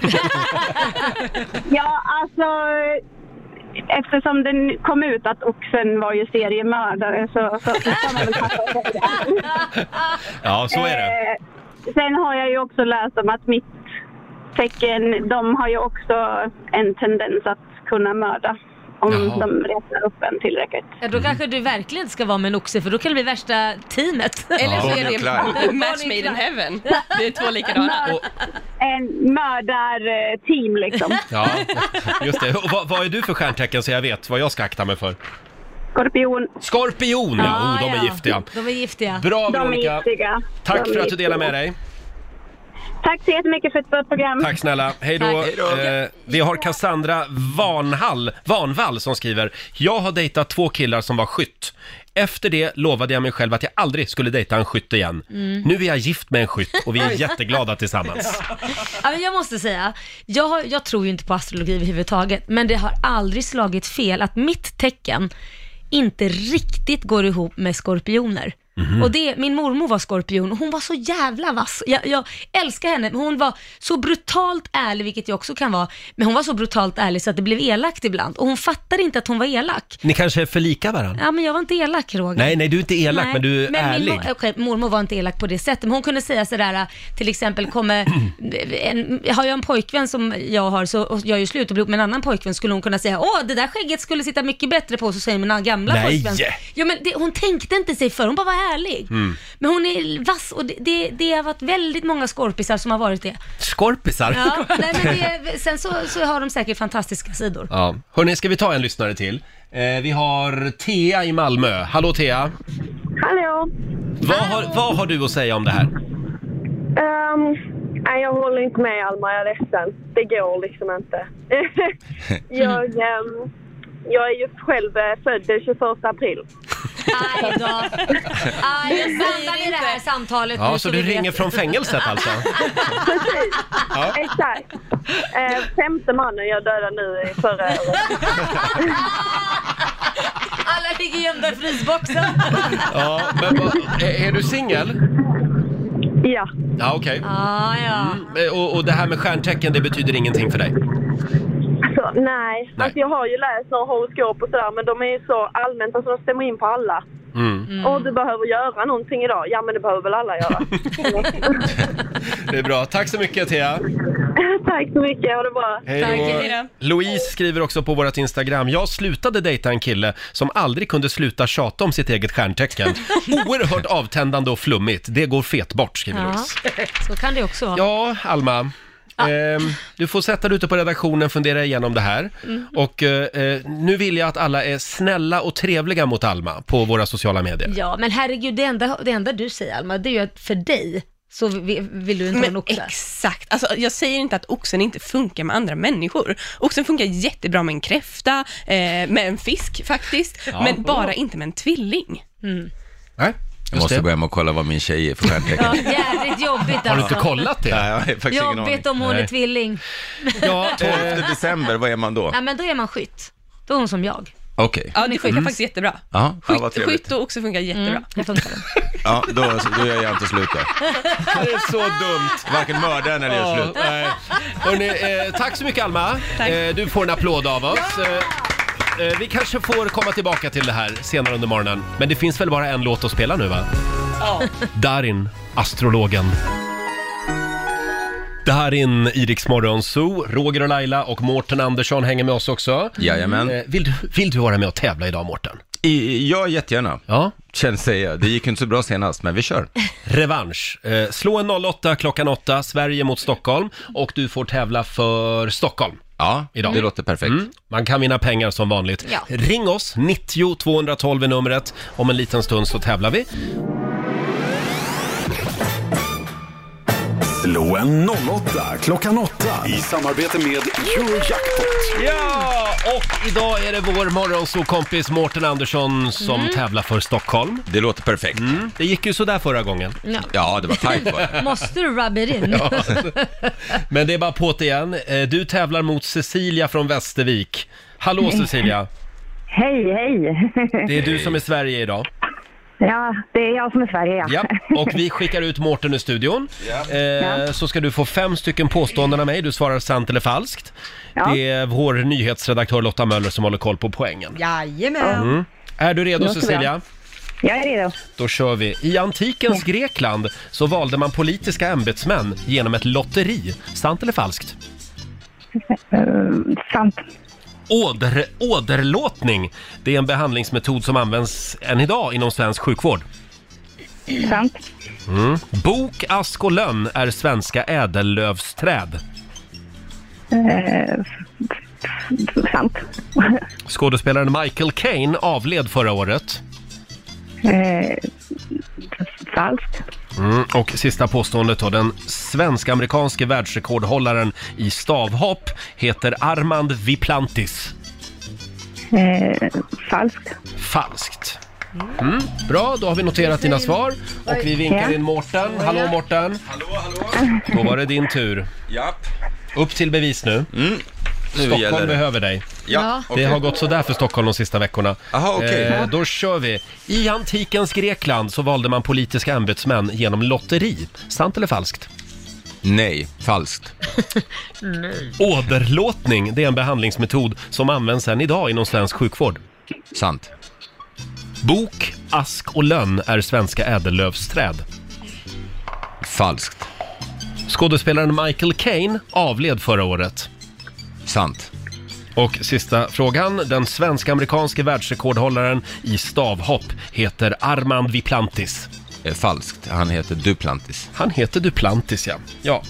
Speaker 10: ja alltså... eh, Eftersom den kom ut att oxen var ju seriemördare så, så, så kan man väl passa på det.
Speaker 1: Ja, så är det.
Speaker 10: Eh, Sen har jag ju också läst om att mitt tecken, de har ju också en tendens att kunna mörda. Om
Speaker 1: Jaha.
Speaker 10: de retar upp en tillräckligt.
Speaker 2: Ja,
Speaker 1: Mm.
Speaker 2: då kanske du verkligen ska vara med en oxe för då kan det bli värsta teamet.
Speaker 9: Eller så
Speaker 8: Bonnie och
Speaker 9: är det
Speaker 8: Clyde.
Speaker 9: match made in heaven. Det är två likadana.
Speaker 1: Och,
Speaker 10: En mördarteam liksom.
Speaker 1: ja, just det. Och vad, vad är du för stjärntecken så jag vet vad jag ska akta mig för?
Speaker 10: Skorpion,
Speaker 1: Skorpion! Ja,
Speaker 2: Ja,
Speaker 1: oh, de är
Speaker 2: ja.
Speaker 1: giftiga.
Speaker 2: De är giftiga.
Speaker 1: Bra
Speaker 10: de är
Speaker 1: Veronica!
Speaker 10: giftiga.
Speaker 1: Tack
Speaker 10: De är
Speaker 1: för att du delar
Speaker 10: giftiga.
Speaker 1: med dig.
Speaker 10: Tack så jättemycket för ett bra program.
Speaker 1: Tack snälla. Hej då.
Speaker 2: Tack.
Speaker 1: Eh, vi har Cassandra Vanhall, Vanvall som skriver. Jag har dejtat två killar som var skytt. Efter det lovade jag mig själv att jag aldrig skulle dejta en skytt igen. Nu är jag gift med en skytt och vi är jätteglada tillsammans.
Speaker 2: Mm. Ja, men jag måste säga, jag, har, jag tror ju inte på astrologi överhuvudtaget, men det har aldrig slagit fel att mitt tecken inte riktigt går ihop med skorpioner. Och det, min mormor var skorpion och hon var så jävla vass. Jag, jag älskar henne, men hon var så brutalt ärlig, vilket jag också kan vara, men hon var så brutalt ärlig så att det blev elakt ibland. Och hon fattade inte att hon var elak.
Speaker 1: Ni kanske är för lika varandra?
Speaker 2: Ja, men jag var inte elak Roger.
Speaker 1: Nej, nej, du är inte elak,
Speaker 2: Nej,
Speaker 1: men du är
Speaker 2: min
Speaker 1: ärlig.
Speaker 2: mor- okej, mormor var inte elak på det sättet, men hon kunde säga sådär, till exempel kommer, en, har jag en pojkvän som jag har så och jag är ju slut och blir ihop med en annan pojkvän, skulle hon kunna säga, åh det där skägget skulle sitta mycket bättre på, så säger mina gamla
Speaker 1: Nej.
Speaker 2: pojkvän. Ja, men det, hon tänkte inte sig för, hon bara var ärlig.
Speaker 1: Mm.
Speaker 2: Men hon är vass och det, det, det har varit väldigt många skorpisar som har varit det.
Speaker 1: Skorpisar.
Speaker 2: Ja, nej, men det sen så, så har de säkert fantastiska sidor.
Speaker 1: Ja. Hörni, ska vi ta en lyssnare till? Eh, vi har Thea i Malmö. Hallå Thea!
Speaker 10: Hallå!
Speaker 1: Vad har, vad har du att säga om det här?
Speaker 11: Ehm, nej, jag håller inte med Alma, jag är ledsen. Det går liksom inte. jag, ehm, jag är ju själv eh, född den 21 april.
Speaker 2: Aj då. Aj, jag stannar i det här samtalet
Speaker 1: Ja,
Speaker 2: nu
Speaker 1: så
Speaker 2: vi
Speaker 1: du
Speaker 2: vet.
Speaker 1: ringer från fängelset alltså?
Speaker 11: Precis,
Speaker 1: Ja.
Speaker 11: exakt. Eh, femte mannen jag dödade nu i förra året.
Speaker 2: Alla ligger gömda i frysboxen.
Speaker 1: Ja, men vad- är, är du singel?
Speaker 11: Ja.
Speaker 1: Ja, okej.
Speaker 2: Ah, ja.
Speaker 1: Eh, Och, och det här med stjärntecken, det betyder ingenting för dig?
Speaker 11: Alltså, nej. Alltså, jag har ju läst några horoskop och sådär, men de är ju så allmänt, alltså de stämmer in på alla.
Speaker 1: Mm.
Speaker 11: Och du behöver göra någonting idag. Ja, men det behöver väl alla göra.
Speaker 1: Det är bra. Tack så mycket Thea.
Speaker 11: Tack så mycket, ha det bra.
Speaker 1: Louise skriver också på vårt Instagram, jag slutade dejta en kille som aldrig kunde sluta tjata om sitt eget stjärntecken. Oerhört avtändande och flummigt, det går fet bort skriver
Speaker 2: ja.
Speaker 1: Louise.
Speaker 2: Så kan det också vara.
Speaker 1: Ja, Alma. ehm, du får sätta dig ute på redaktionen och fundera igenom det här.
Speaker 2: Mm.
Speaker 1: Och eh, eh, nu vill jag att alla är snälla och trevliga mot Alma på våra sociala medier.
Speaker 2: Ja, men herregud, det enda, det enda du säger Alma, det är ju att för dig så vi- vill du inte ha en
Speaker 9: Men
Speaker 2: oxe.
Speaker 9: exakt, alltså, jag säger inte att oxen inte funkar med andra människor. Oxen funkar jättebra med en kräfta, eh, med en fisk faktiskt,
Speaker 8: Ja.
Speaker 9: men bara inte med en tvilling.
Speaker 8: Jag måste gå hem och kolla vad min tjej är för stjärntecken.
Speaker 2: Ja, jävligt jobbigt alltså.
Speaker 8: Nej, jag har faktiskt ingen aning.
Speaker 2: Jobbigt om hon är tvilling.
Speaker 1: Ja, eh,
Speaker 8: 12 december, vad är man då?
Speaker 2: Ja, men då är man skytt. Då är hon som jag.
Speaker 8: Okej.
Speaker 9: Ja, det funkar faktiskt jättebra.
Speaker 8: Ja, Mm. ja, vad
Speaker 9: Skytt,
Speaker 8: trevligt.
Speaker 9: skytt och oxe funkar
Speaker 2: Mm.
Speaker 9: jättebra.
Speaker 8: Ja, då, då gör jag inte slut då.
Speaker 1: Det är så dumt.
Speaker 8: Varken mördaren eller gör slut.
Speaker 1: nej. Hörrni, eh, tack så mycket Alma. Eh, du får en applåd av oss. Eh, eh, vi kanske får komma tillbaka till det här senare under morgonen. Men det finns väl bara en låt att spela nu va? Darin, astrologen. Darin, Iriks morgonzoo, Roger och Laila och Mårten Andersson hänger med oss också.
Speaker 8: Jajamän.
Speaker 1: Eh, Vill, du- vill du vara med och tävla idag Mårten?
Speaker 8: I, ja, jättegärna.
Speaker 1: Ja.
Speaker 8: Känns säga. Det gick ju inte så bra senast, men vi kör.
Speaker 1: Revansch. Eh, slå en 08 klockan 8, Sverige mot Stockholm. Och du får tävla för Stockholm.
Speaker 8: Ja,
Speaker 1: idag. Mm.
Speaker 8: det låter perfekt.
Speaker 1: Man kan vinna pengar som vanligt.
Speaker 8: Ja.
Speaker 1: Ring oss, 90 212 är numret. Om en liten stund så tävlar vi.
Speaker 6: Slå en 08 klockan 8 i samarbete med Eurojackpot.
Speaker 1: Ja, och idag är det vår morgonsokompis Mårten Andersson som
Speaker 2: Mm.
Speaker 1: tävlar för Stockholm.
Speaker 8: Det låter perfekt.
Speaker 1: Mm. Det gick ju sådär förra gången.
Speaker 2: Ja.
Speaker 8: det var tajt var det.
Speaker 2: Måste du rubba it in?
Speaker 1: Ja. Men det är bara på't igen. Eh, Du tävlar mot Cecilia från Västervik. Hallå
Speaker 12: Nej.
Speaker 1: Cecilia!
Speaker 12: Hej, hej!
Speaker 1: Det är du som är Sverige idag.
Speaker 12: Ja, det är jag som är Sverige, ja.
Speaker 1: Ja, och vi skickar ut Mårten ur studion. Eh, Så ska du få fem stycken påståenden av mig. Du svarar sant eller falskt.
Speaker 3: Ja.
Speaker 1: Det är vår nyhetsredaktör Lotta Möller som håller koll på poängen.
Speaker 3: Jajamän.
Speaker 1: Mm. Är du redo
Speaker 3: Låter bra.
Speaker 1: Cecilia?
Speaker 12: Jag är redo.
Speaker 1: Då kör vi. I antikens Grekland så valde man politiska ämbetsmän genom ett lotteri. Sant eller falskt?
Speaker 12: Eh, sant.
Speaker 1: Åder, åderlåtning, det är en behandlingsmetod som används än idag inom svensk sjukvård.
Speaker 12: Sant.
Speaker 1: Mm. Bok, ask och lönn är svenska ädellövsträd.
Speaker 12: Eh, sant.
Speaker 1: Skådespelaren Michael Caine avled förra året.
Speaker 12: Eh, falskt.
Speaker 1: Mm. Och sista påståendet då. Den svensk-amerikanske världsrekordhållaren i stavhopp heter Armand Viplantis.
Speaker 12: Eh, falskt.
Speaker 1: Falskt. Mm. Bra, då har vi noterat dina svar. Och vi vinkar in Mårten. Hallå Mårten! Hallå, hallå! Då var det din tur.
Speaker 8: Japp.
Speaker 1: Upp till bevis nu. Stockholm
Speaker 8: gäller det.
Speaker 1: behöver dig.
Speaker 8: Ja, Ja. okej.
Speaker 1: Det har gått sådär för Stockholm de sista veckorna. Eh,
Speaker 8: Aha, okej.
Speaker 1: då kör vi. I antikens Grekland så valde man politiska ämbetsmän genom lotteri. Sant eller falskt?
Speaker 8: Nej, falskt.
Speaker 2: Nej.
Speaker 1: Åderlåtning, det är en behandlingsmetod som används än idag inom svensk sjukvård.
Speaker 8: Sant.
Speaker 1: Bok, ask och lönn är svenska ädellövsträd.
Speaker 8: Falskt.
Speaker 1: Skådespelaren Michael Caine avled förra året.
Speaker 8: Sant.
Speaker 1: Och sista frågan. Den svensk-amerikanske världsrekordhållaren i stavhopp heter Armand Viplantis.
Speaker 8: Eh, falskt. Han heter Duplantis.
Speaker 1: Han heter Duplantis, ja. Ja,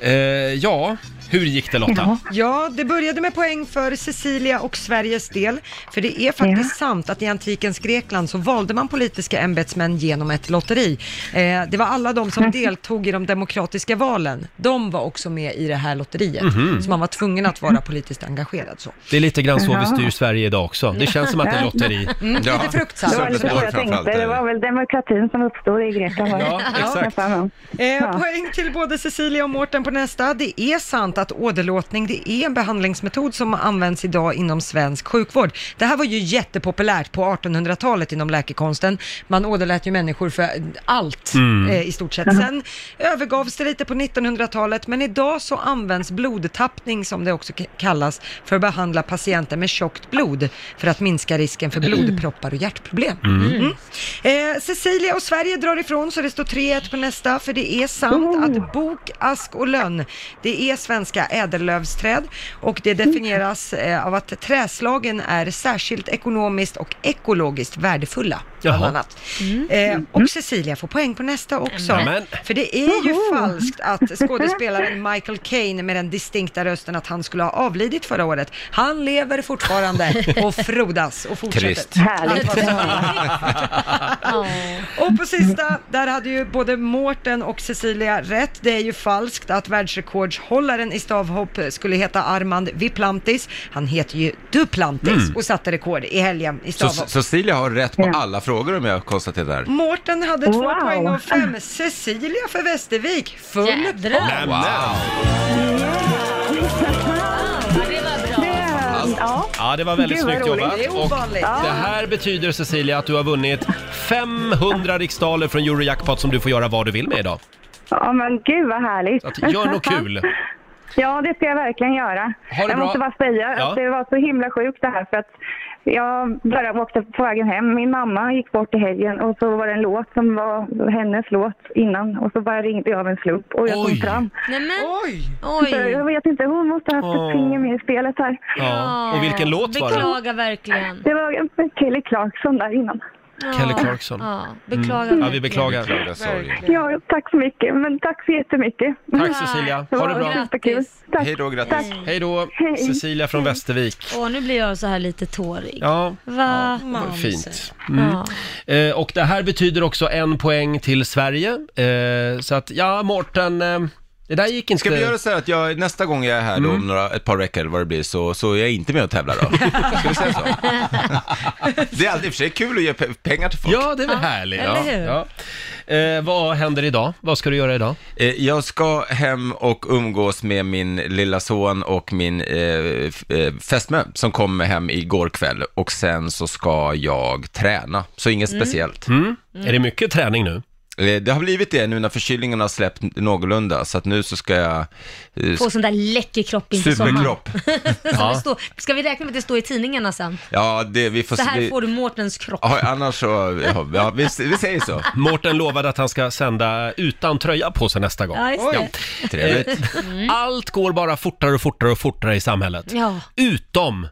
Speaker 1: eh, ja Hur gick det Lotta?
Speaker 3: Ja, det började med poäng för Cecilia och Sveriges del. För det är faktiskt sant att i antikens Grekland så valde man politiska ämbetsmän genom ett lotteri. Eh, det var alla de som deltog i de demokratiska valen. De var också med i det här lotteriet.
Speaker 1: Mhm.
Speaker 3: Så man var tvungen att vara politiskt engagerad så.
Speaker 1: Det är lite grann så vi
Speaker 3: Ja.
Speaker 1: styr Sverige idag också. Det känns som att det är lotteri.
Speaker 3: Mm, lite Ja. fruktsamt.
Speaker 12: Det var lite så jag tänkte.
Speaker 8: eh,
Speaker 12: Det var väl demokratin som uppstod i Grekland. var det?
Speaker 1: Ja, exakt.
Speaker 12: nästan.
Speaker 3: Eh,
Speaker 12: Ja.
Speaker 3: Poäng till både Cecilia och Mårten på nästa. Det är sant att åderlåtning, det är en behandlingsmetod som används idag inom svensk sjukvård. Det här var ju jättepopulärt på 1800-talet inom läkekonsten. Man åderlät ju människor för allt
Speaker 4: Mm.
Speaker 3: eh, i stort sett. Sen övergavs det lite på 1900-talet, men idag så används blodtappning, som det också k- kallas, för att behandla patienter med tjockt blod, för att minska risken för blodproppar och hjärtproblem.
Speaker 4: Mm.
Speaker 3: Mm. Eh, Cecilia och Sverige drar ifrån så det står 3-1 på nästa för det är sant att bok, ask och lönn det är svenska ädellövsträd och det definieras eh, av att träslagen är särskilt ekonomiskt och ekologiskt värdefulla. Bland
Speaker 4: Jaha.
Speaker 3: annat. Eh, och Cecilia får poäng på nästa också.
Speaker 4: Nämen.
Speaker 3: För det är ju falskt att skådespelaren Michael Caine med den distinkta rösten att han skulle ha avlidit förra året. Han lever fortfarande och frodas och fortsätter.
Speaker 4: Trist.
Speaker 3: Att vara så och på sista, där hade ju både Mårten och Cecilia rätt. Det är ju falskt att världsrekordshållaren i stavhopp skulle heta Armand Viplantis. Han heter ju Duplantis
Speaker 8: Mm.
Speaker 3: och satte rekord i helgen i
Speaker 8: Så,
Speaker 3: stavhopp.
Speaker 8: Cecilia har rätt på alla frågor om jag konstaterar.
Speaker 12: Mm,
Speaker 3: Mårten hade två
Speaker 4: Wow.
Speaker 3: poäng och fem. Cecilia för Västervik, full pott.
Speaker 1: Ja, det var väldigt
Speaker 3: Gud, vad
Speaker 1: snyggt
Speaker 3: roligt.
Speaker 1: jobbat.
Speaker 3: Det är
Speaker 1: Och
Speaker 3: ovanligt.
Speaker 1: det här betyder Cecilia att du har vunnit 500 riksdaler från Eurojackpot som du får göra vad du vill med idag.
Speaker 12: Ja, men gud vad härligt.
Speaker 1: Gör något kul!
Speaker 12: Ja, det ska jag verkligen göra.
Speaker 1: Ha det
Speaker 12: jag
Speaker 1: bra.
Speaker 12: måste bara säga
Speaker 1: Ja.
Speaker 12: att det var så himla sjukt det här för att jag bara åkte på vägen hem. Min mamma gick bort i helgen och så var det en låt som var hennes låt innan och så bara ringde jag av en slump och jag kom fram.
Speaker 2: Nej, men,
Speaker 3: oj!
Speaker 12: Så jag vet inte, hon måste ha haft ett finger med i spelet här.
Speaker 1: Ja, och vilken låt var det?
Speaker 2: Beklagar verkligen.
Speaker 12: Det var Kelly Clarkson där innan.
Speaker 1: Kelly Clarkson.
Speaker 2: Ja, beklagar
Speaker 1: Mm. Ja, vi
Speaker 2: verkligen.
Speaker 1: beklagar.
Speaker 12: Ja, tack så mycket. Men tack så jättemycket.
Speaker 1: Tack Cecilia,
Speaker 12: Det
Speaker 1: ha det
Speaker 12: var
Speaker 1: bra.
Speaker 12: Superkul. Tack.
Speaker 8: Hej då, grattis.
Speaker 12: Tack.
Speaker 1: Hej då, Cecilia från Västervik.
Speaker 2: Åh, nu blir jag så här lite tårig.
Speaker 1: Ja,
Speaker 2: Va?
Speaker 1: Fint. Mm.
Speaker 2: Ja.
Speaker 1: Eh, och det här betyder också en poäng till Sverige. Eh, så att, ja, Mårten, eh, det där gick inte...
Speaker 8: Ska vi göra så här att jag, nästa gång jag är här
Speaker 12: Mm.
Speaker 8: då, om några, ett par veckor eller vad det blir, så, så är jag inte med och tävlar då. Ska vi säga så? Det är alltid i och för sig kul att ge pe- pengar till folk.
Speaker 1: Ja, det är väl härligt.
Speaker 8: Eller hur?
Speaker 1: Ja. Eh, vad händer idag? Vad ska du göra idag?
Speaker 8: Eh, Jag ska hem och umgås med min lilla son och min eh, f- eh, fästmö som kom hem igår kväll och sen så ska jag träna, så inget
Speaker 1: Mm.
Speaker 8: speciellt. Eh,
Speaker 1: Är det mycket träning nu?
Speaker 8: Det har blivit det nu när förkylningen har släppt någorlunda, så att nu så ska jag... eh,
Speaker 2: Få sån där läcker kropp inför
Speaker 8: Superkropp.
Speaker 2: sommaren.
Speaker 8: Ja.
Speaker 2: Det står- Ska vi räkna med att det står i tidningarna sen?
Speaker 8: Ja, det, vi får...
Speaker 2: Så
Speaker 8: vi,
Speaker 2: här får du Mårtens kropp.
Speaker 8: Ja, annars så... Ja, ja, vi, vi säger så.
Speaker 2: Eh,
Speaker 1: Mårten lovade att han ska sända utan tröja på sig nästa gång.
Speaker 2: Ja, just det.
Speaker 1: Trevligt. Allt går bara fortare och fortare och fortare i samhället.
Speaker 2: Ja.
Speaker 1: Utom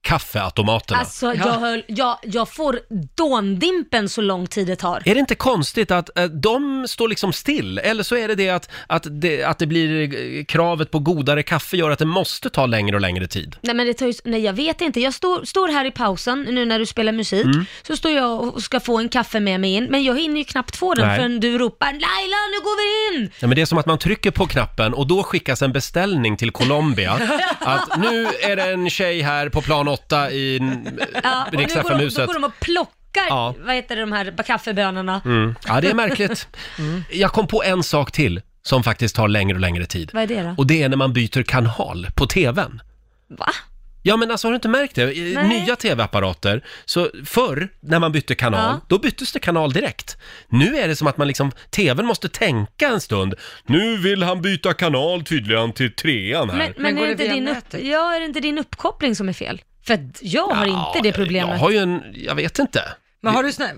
Speaker 1: kaffeautomaterna.
Speaker 2: Alltså, jag, höll, jag, jag får dåndimpen så lång tid det tar.
Speaker 1: Är det inte konstigt att eh, de står liksom still? Eller så är det det att, att det att det blir eh, kravet på godare kaffe gör att det måste ta längre och längre tid.
Speaker 2: Nej men det tar ju, nej jag vet inte. Jag står, står här i pausen nu när du spelar musik,
Speaker 1: Mm.
Speaker 2: så står jag och ska få en kaffe med mig in, men jag hinner ju knappt få den
Speaker 1: Nej.
Speaker 2: förrän du ropar “Laila, nu går vi in!”
Speaker 1: Ja, men det är som att man trycker på knappen och då skickas en beställning till Colombia. att nu är det en tjej här på plan 8 i
Speaker 2: Ja, och nu
Speaker 1: riks
Speaker 2: går de, då
Speaker 1: huset
Speaker 2: går de och plockar,
Speaker 1: Ja.
Speaker 2: vad heter det, de här kaffebönorna.
Speaker 1: mm. Ja, det är märkligt. Jag kom på en sak till som faktiskt tar längre och längre tid.
Speaker 2: Vad är det då?
Speaker 1: Och det är när man byter kanal på TVn.
Speaker 2: Va?
Speaker 1: Ja men alltså har du inte märkt det? I
Speaker 2: Nej.
Speaker 1: Nya TV-apparater, så förr när man bytte kanal,
Speaker 2: Ja.
Speaker 1: då byttes det kanal direkt. Nu är det som att man liksom, TVn måste tänka en stund. Nu vill han byta kanal tydligen till trean här.
Speaker 2: Men, men, är, det inte din upp, ja, är det inte din uppkoppling som är fel? För att jag har inte det
Speaker 1: Jag
Speaker 2: problemet.
Speaker 1: har ju en, jag vet inte.
Speaker 3: Men har du sån här...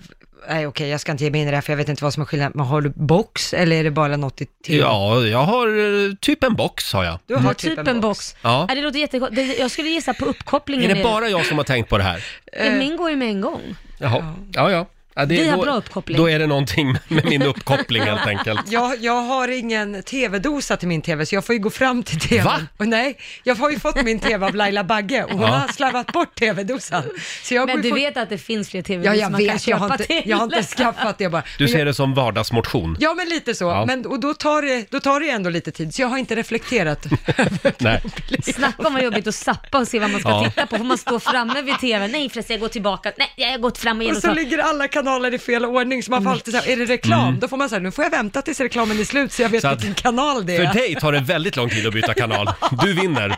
Speaker 3: Nej okej, jag ska inte ge mig in i det här för jag vet inte vad som är skillnaden. Men har du box eller är det bara något i TV?
Speaker 1: Ja, jag har eh, typ en box har jag.
Speaker 3: Du har
Speaker 2: Mm.
Speaker 3: typ
Speaker 2: Typ
Speaker 3: en
Speaker 2: en box.
Speaker 1: Ja.
Speaker 2: Ja, det låter jättekonstigt. Det- Jag skulle gissa på uppkopplingen.
Speaker 1: Är det
Speaker 2: i
Speaker 1: bara jag som har tänkt på det här?
Speaker 2: Ja, Min går ju med en gång.
Speaker 1: Jaha, ja ja. Ja, det-
Speaker 2: Vi har
Speaker 1: då-
Speaker 2: bra uppkoppling.
Speaker 1: Då är det någonting med min uppkoppling helt enkelt.
Speaker 3: Jag, jag har ingen tv-dosa till min tv, så jag får ju gå fram till tvn. Va? Och nej, jag har ju fått min tv av Laila Bagge och hon
Speaker 2: Ja.
Speaker 3: har slarvat bort tv-dosan. Så jag
Speaker 2: Men
Speaker 3: går ju
Speaker 2: du
Speaker 3: fort-
Speaker 2: vet att det finns fler
Speaker 3: Ja,
Speaker 2: TV-doser
Speaker 3: jag
Speaker 2: man kan
Speaker 3: vet, jag
Speaker 2: köpa
Speaker 3: har, inte,
Speaker 2: till?
Speaker 3: jag har inte skaffat det bara.
Speaker 1: Du
Speaker 3: Men
Speaker 1: ser
Speaker 3: jag,
Speaker 1: det som vardagsmotion.
Speaker 3: Ja, men lite så.
Speaker 1: Ja.
Speaker 3: Men, och då tar, det, då tar det ändå lite tid, så jag har inte reflekterat.
Speaker 1: Nej.
Speaker 2: Snacka om vad jobbigt att zappa och se vad man ska
Speaker 1: Ja.
Speaker 2: titta på. Får man stå framme vid tvn? Nej förresten, jag går tillbaka. Nej, jag har gått fram och
Speaker 3: Och
Speaker 2: genom
Speaker 3: så ligger alla kanaler i fel ordning, så man får alltid så här, är det reklam?
Speaker 1: Mm.
Speaker 3: Då får man säga, nu får jag vänta tills reklamen är slut så jag vet
Speaker 1: Så att-
Speaker 3: vilken kanal det är.
Speaker 1: För dig tar det väldigt lång tid att byta kanal. Du vinner.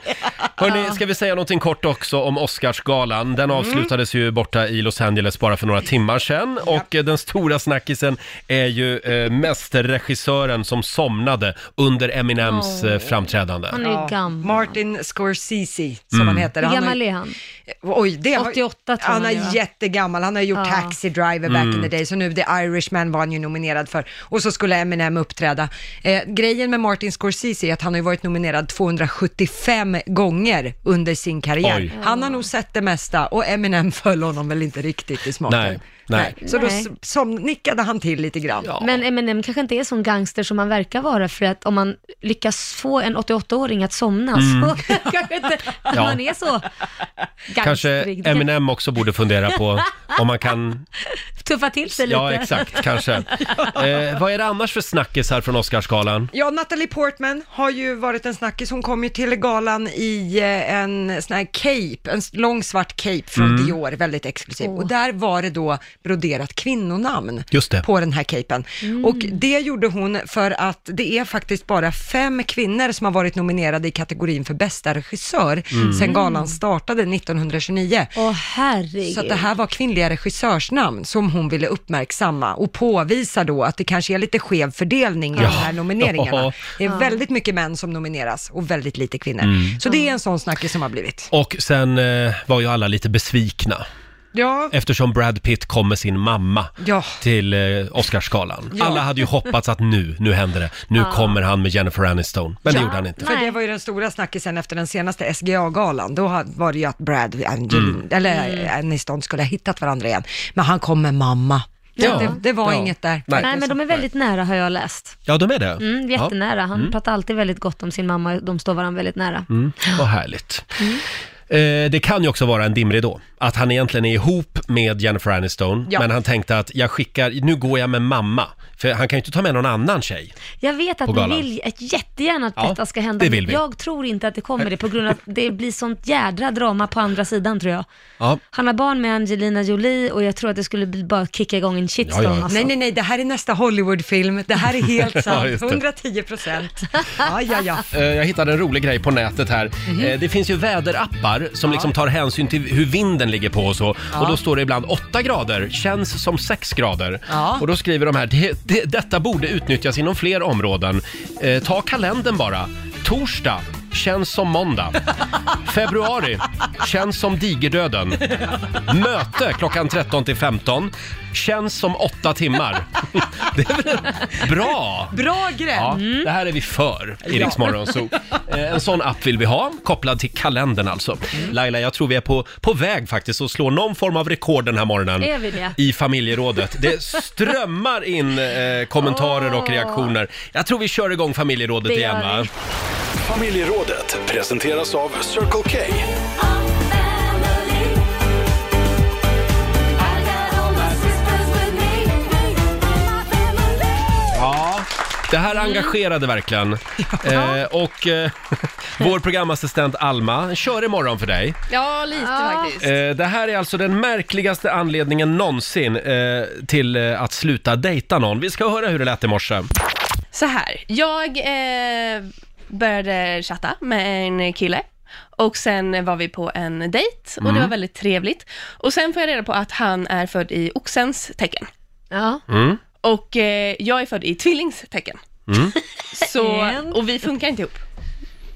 Speaker 1: Hörni, ska vi säga någonting kort också om Oscarsgalan?
Speaker 2: Mm.
Speaker 1: Den avslutades ju borta i Los Angeles bara för några timmar sedan. Och eh, den stora snackisen är ju eh, mästerregissören som somnade under Eminems eh, framträdande.
Speaker 2: Han är ju gammal.
Speaker 3: Martin Scorsese, som
Speaker 1: Mm.
Speaker 3: han heter.
Speaker 2: Hur
Speaker 3: Han
Speaker 2: gammal
Speaker 3: har,
Speaker 2: är han?
Speaker 3: Eh, Oj, det var,
Speaker 2: 88 tror
Speaker 3: Han
Speaker 2: man det
Speaker 3: är
Speaker 2: var.
Speaker 3: jättegammal. Han har gjort
Speaker 2: Ja.
Speaker 3: Taxi Driver back
Speaker 13: Mm.
Speaker 3: in the day, så nu The Irishman var han ju nominerad för. Och så skulle Eminem uppträda. Eh, grejen med Martin Scorsese är att han har ju varit nominerad 275 gånger under sin karriär.
Speaker 1: Oj.
Speaker 3: Han har nog sett det mesta och Eminem föll honom väl inte riktigt i smaken.
Speaker 1: Nej, nej.
Speaker 3: Så då
Speaker 2: Nej.
Speaker 3: s- som, nickade han till lite grann.
Speaker 2: Men Eminem kanske inte är sån gangster som man verkar vara för att om man lyckas få en 88-åring att somna
Speaker 1: Mm.
Speaker 2: så kanske inte att
Speaker 1: Ja.
Speaker 2: man är så
Speaker 1: Kanske
Speaker 2: gangsterig.
Speaker 1: Eminem också borde fundera på om man kan...
Speaker 2: Tuffa till sig lite.
Speaker 1: Ja, exakt, kanske. Eh, vad är det annars för snackisar från Oscarsgalan?
Speaker 3: Ja, Natalie Portman har ju varit en snackis. Hon kom ju till galan i eh, en sån här cape, en s- lång svart cape från
Speaker 1: Mm.
Speaker 3: Dior, väldigt exklusiv. Och där var det då broderat kvinnonamn
Speaker 1: Just det.
Speaker 3: på den här capen. Och det gjorde hon för att det är faktiskt bara fem kvinnor som har varit nominerade i kategorin för bästa regissör
Speaker 2: Mm.
Speaker 3: sedan galan startade 1929.
Speaker 2: Åh herregud.
Speaker 3: Så att det här var kvinnliga regissörsnamn som hon ville uppmärksamma och påvisa då att det kanske är lite skev fördelning i
Speaker 2: Ja.
Speaker 3: de här nomineringarna.
Speaker 1: Ja.
Speaker 3: Det är
Speaker 2: Ja.
Speaker 3: väldigt mycket män som nomineras och väldigt lite kvinnor.
Speaker 1: Mm.
Speaker 3: Så det är en sån snackis som har blivit.
Speaker 1: Och sen eh, var ju alla lite besvikna.
Speaker 3: Ja,
Speaker 1: Eftersom Brad Pitt kom med sin mamma
Speaker 3: Ja.
Speaker 1: till eh, Oscarsgalan.
Speaker 3: Ja.
Speaker 1: Alla hade ju hoppats att nu, nu händer det. Nu
Speaker 3: Ja.
Speaker 1: kommer han med Jennifer Aniston. Men det
Speaker 3: Ja,
Speaker 1: gjorde han inte.
Speaker 3: För det var ju den stora snackisen efter den senaste SGA-galan. Då ha- var det ju att Brad och Angelina,
Speaker 1: Mm.
Speaker 3: eller eh,
Speaker 2: Mm.
Speaker 3: Aniston skulle ha hittat varandra igen. Men han kom med mamma. Det,
Speaker 1: Ja.
Speaker 3: det, det var
Speaker 1: Ja.
Speaker 3: inget där.
Speaker 1: Nej.
Speaker 2: Nej, men de är väldigt nära har jag läst.
Speaker 1: Ja, de är det.
Speaker 2: Mm, jättenära. Han
Speaker 1: Ja. Mm.
Speaker 2: pratar alltid väldigt gott om sin mamma. De står varandra väldigt nära.
Speaker 1: Mm. Vad härligt. Eh, det kan ju också vara en dimridå. Att han egentligen är ihop med Jennifer Aniston.
Speaker 2: Ja.
Speaker 1: Men han tänkte att jag skickar, nu går jag med mamma. För han kan ju inte ta med någon annan tjej.
Speaker 2: Jag vet
Speaker 1: På
Speaker 2: att ni
Speaker 1: galan.
Speaker 2: vill ett- jättegärna att
Speaker 1: Ja,
Speaker 2: detta ska hända.
Speaker 1: det vill vi.
Speaker 2: Jag tror inte att det kommer det på grund av att det blir sånt jädra drama på andra sidan tror jag.
Speaker 1: Ja.
Speaker 2: Han har barn med Angelina Jolie och jag tror att det skulle bli bara kicka igång en shitstorm.
Speaker 1: Ja, ja.
Speaker 2: Alltså.
Speaker 3: Nej, nej, nej, det här är nästa Hollywood-film. Det här är helt
Speaker 1: Ja,
Speaker 3: sant.
Speaker 1: just det.
Speaker 3: 110 procent. Ja, ja, ja.
Speaker 1: Eh, Jag hittade en rolig grej på nätet här.
Speaker 3: Mhm.
Speaker 1: Eh, Det finns ju väderappar som liksom tar hänsyn till hur vinden ligger på och så.
Speaker 3: Ja.
Speaker 1: Och då står det ibland 8 grader, känns som 6 grader.
Speaker 3: Ja.
Speaker 1: Och då skriver de här, det, det, detta borde utnyttjas inom fler områden. Eh, ta kalendern bara. Torsdag, känns som måndag. Februari, känns som digerdöden. Möte klockan 13 till 15, känns som 8 timmar. Det är väl bra?
Speaker 3: Bra grej.
Speaker 1: Ja,
Speaker 2: Mm.
Speaker 1: det här är vi för i
Speaker 3: Ja.
Speaker 1: Rix Morgonzoo. Eh, En sån app vill vi ha, kopplad till kalendern alltså.
Speaker 2: Mm.
Speaker 1: Laila, jag tror vi är på, på väg faktiskt att slå någon form av rekord den här morgonen.
Speaker 2: Är vi det?
Speaker 1: I familjerådet. Det strömmar in eh, kommentarer och
Speaker 2: Åh.
Speaker 1: reaktioner. Jag tror vi kör igång familjerådet
Speaker 6: Det
Speaker 1: igen
Speaker 6: gör
Speaker 1: va?
Speaker 6: Familjerådet presenteras av Circle K.
Speaker 1: Ja. Det här
Speaker 2: Mm.
Speaker 1: engagerade verkligen. Eh, och eh, vår programassistent Alma, kör imorgon för dig.
Speaker 9: Ja, lite faktiskt.
Speaker 1: Eh, det här är alltså den märkligaste anledningen någonsin eh, till eh, att sluta dejta någon. Vi ska höra hur det lät i morse.
Speaker 9: Så här, jag eh, började chatta med en kille och sen var vi på en dejt och det
Speaker 1: Mm.
Speaker 9: var väldigt trevligt. Och sen får jag reda på att han är född i oxens tecken.
Speaker 2: Ja.
Speaker 1: Mm.
Speaker 9: Och eh, jag är född i tvillings tecken.
Speaker 1: Mm.
Speaker 9: Så, och vi funkar inte ihop.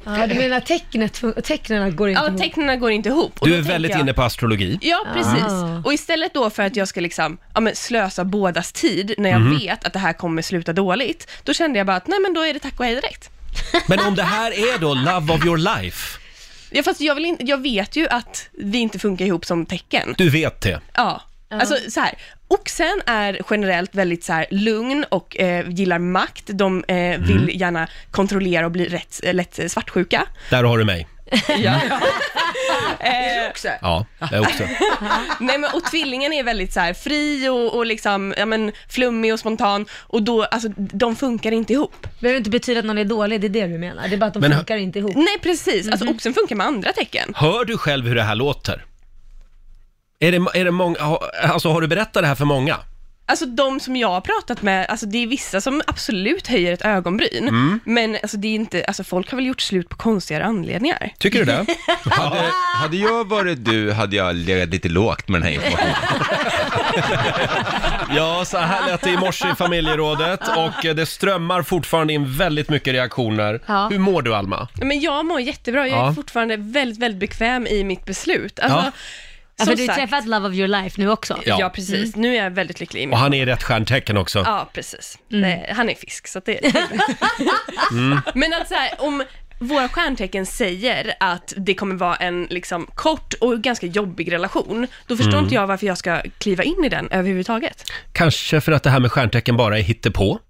Speaker 2: Ja, du menar tecknet, tecknen går inte
Speaker 9: Ja,
Speaker 2: ihop?
Speaker 9: tecknen går inte ihop. Och
Speaker 1: Du
Speaker 9: då
Speaker 1: är
Speaker 9: tänker
Speaker 1: väldigt
Speaker 9: jag-
Speaker 1: inne på astrologi.
Speaker 9: Ja, precis.
Speaker 2: Ah.
Speaker 9: Och istället då för att jag ska liksom, ja, men slösa bådas tid när jag
Speaker 1: Mhm.
Speaker 9: vet att det här kommer sluta dåligt, då kände jag bara att nej men då är det tack och hej direkt.
Speaker 1: Men om det här är då love of your life,
Speaker 9: Ja, fast jag, vill in, jag vet ju att vi inte funkar ihop som tecken.
Speaker 1: du vet det.
Speaker 9: Ja. Alltså så här, Oxen är generellt väldigt så här lugn och eh, gillar makt. De eh, vill
Speaker 1: Mm.
Speaker 9: gärna kontrollera och bli rätt, lätt eh, svartsjuka.
Speaker 1: Där har du mig.
Speaker 9: Eh,
Speaker 1: Ja, jag är också.
Speaker 9: Nej, men, och tvillingen är väldigt så här, fri och, och liksom, ja, men, flummig och spontan och då, alltså, de funkar inte ihop. Det behöver inte betyda att någon är dålig, det är det du menar. Det är bara att
Speaker 1: de Men- funkar
Speaker 9: inte ihop. Nej, precis. Alltså oxen funkar med andra tecken.
Speaker 1: Hör du själv hur det här låter? Är det, är det många, ha- alltså har du berättat det här för många?
Speaker 9: Alltså de som jag har pratat med, alltså det är vissa som absolut höjer ett ögonbryn,
Speaker 1: Mm.
Speaker 9: men alltså det är inte, alltså folk har väl gjort slut på konstigare anledningar.
Speaker 1: Tycker du det?
Speaker 8: Hade, hade jag varit du hade jag legat lite lågt med den här informationen.
Speaker 1: Ja, så här lät det i morse i familjerådet och eh, det strömmar fortfarande in väldigt mycket reaktioner.
Speaker 9: Ja.
Speaker 1: Hur mår du Alma?
Speaker 9: Men jag mår jättebra, jag
Speaker 1: Ja.
Speaker 9: är fortfarande väldigt, väldigt bekväm i mitt beslut. Alltså,
Speaker 1: Ja.
Speaker 2: Ja,
Speaker 9: som
Speaker 2: för du har
Speaker 9: sagt-
Speaker 2: träffat Love of your life nu också.
Speaker 1: Ja.
Speaker 9: Ja, precis. Nu är jag väldigt lycklig i mitt
Speaker 1: Och han är i rätt stjärntecken också.
Speaker 9: Ja, precis. Det, han är fisk, så att det
Speaker 1: Mm.
Speaker 9: Men att så här, om våra stjärntecken säger att det kommer vara en liksom, kort och ganska jobbig relation, då förstår
Speaker 1: Mm.
Speaker 9: inte jag varför jag ska kliva in i den överhuvudtaget.
Speaker 1: Kanske för att det här med stjärntecken bara är hittepå,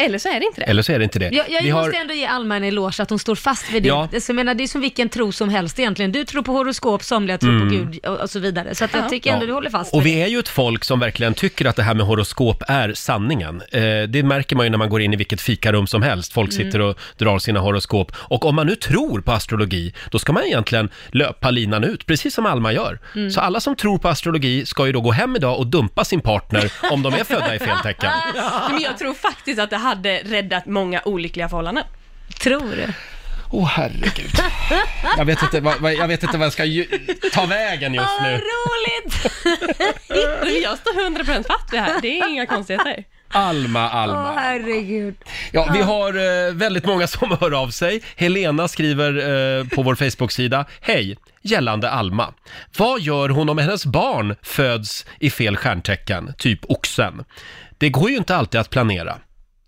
Speaker 9: Eller så är det inte det.
Speaker 1: eller så är det inte det.
Speaker 2: Jag, jag
Speaker 1: Vi
Speaker 2: måste
Speaker 1: har...
Speaker 2: ändå ge Alma en eloge att hon står fast vid det.
Speaker 1: Ja.
Speaker 2: Så jag menar, det är som vilken tro som helst egentligen. Du tror på horoskop, somliga tror
Speaker 1: Mm.
Speaker 2: på Gud och, och så vidare. Så att jag tycker ändå
Speaker 1: Ja.
Speaker 2: du håller fast
Speaker 1: Och
Speaker 2: vid
Speaker 1: vi är ju ett folk som verkligen tycker att det här med horoskop är sanningen. Eh, det märker man ju när man går in i vilket fikarum som helst. Folk
Speaker 2: Mm.
Speaker 1: sitter och drar sina horoskop. Och om man nu tror på astrologi, då ska man egentligen löpa linan ut, precis som Alma gör.
Speaker 2: Mm.
Speaker 1: Så alla som tror på astrologi ska ju då gå hem idag och dumpa sin partner om de är födda i fel tecken.
Speaker 9: Nej, Men jag tror faktiskt att det hade räddat många olyckliga förhållanden.
Speaker 2: Tror du?
Speaker 1: Åh herregud. Jag vet inte vad, vad- jag, vet inte vad jag ska ju, ta vägen just nu.
Speaker 2: Roligt!
Speaker 9: jag står 100% fast vid det här, det är inga konstigheter.
Speaker 1: Alma, Alma.
Speaker 2: herregud.
Speaker 1: Ja, vi har eh, väldigt många som hör av sig. Helena skriver eh, på vår Facebook-sida, Hej, gällande Alma. Vad gör hon om hennes barn föds i fel stjärntecken, typ oxen? Det går ju inte alltid att planera.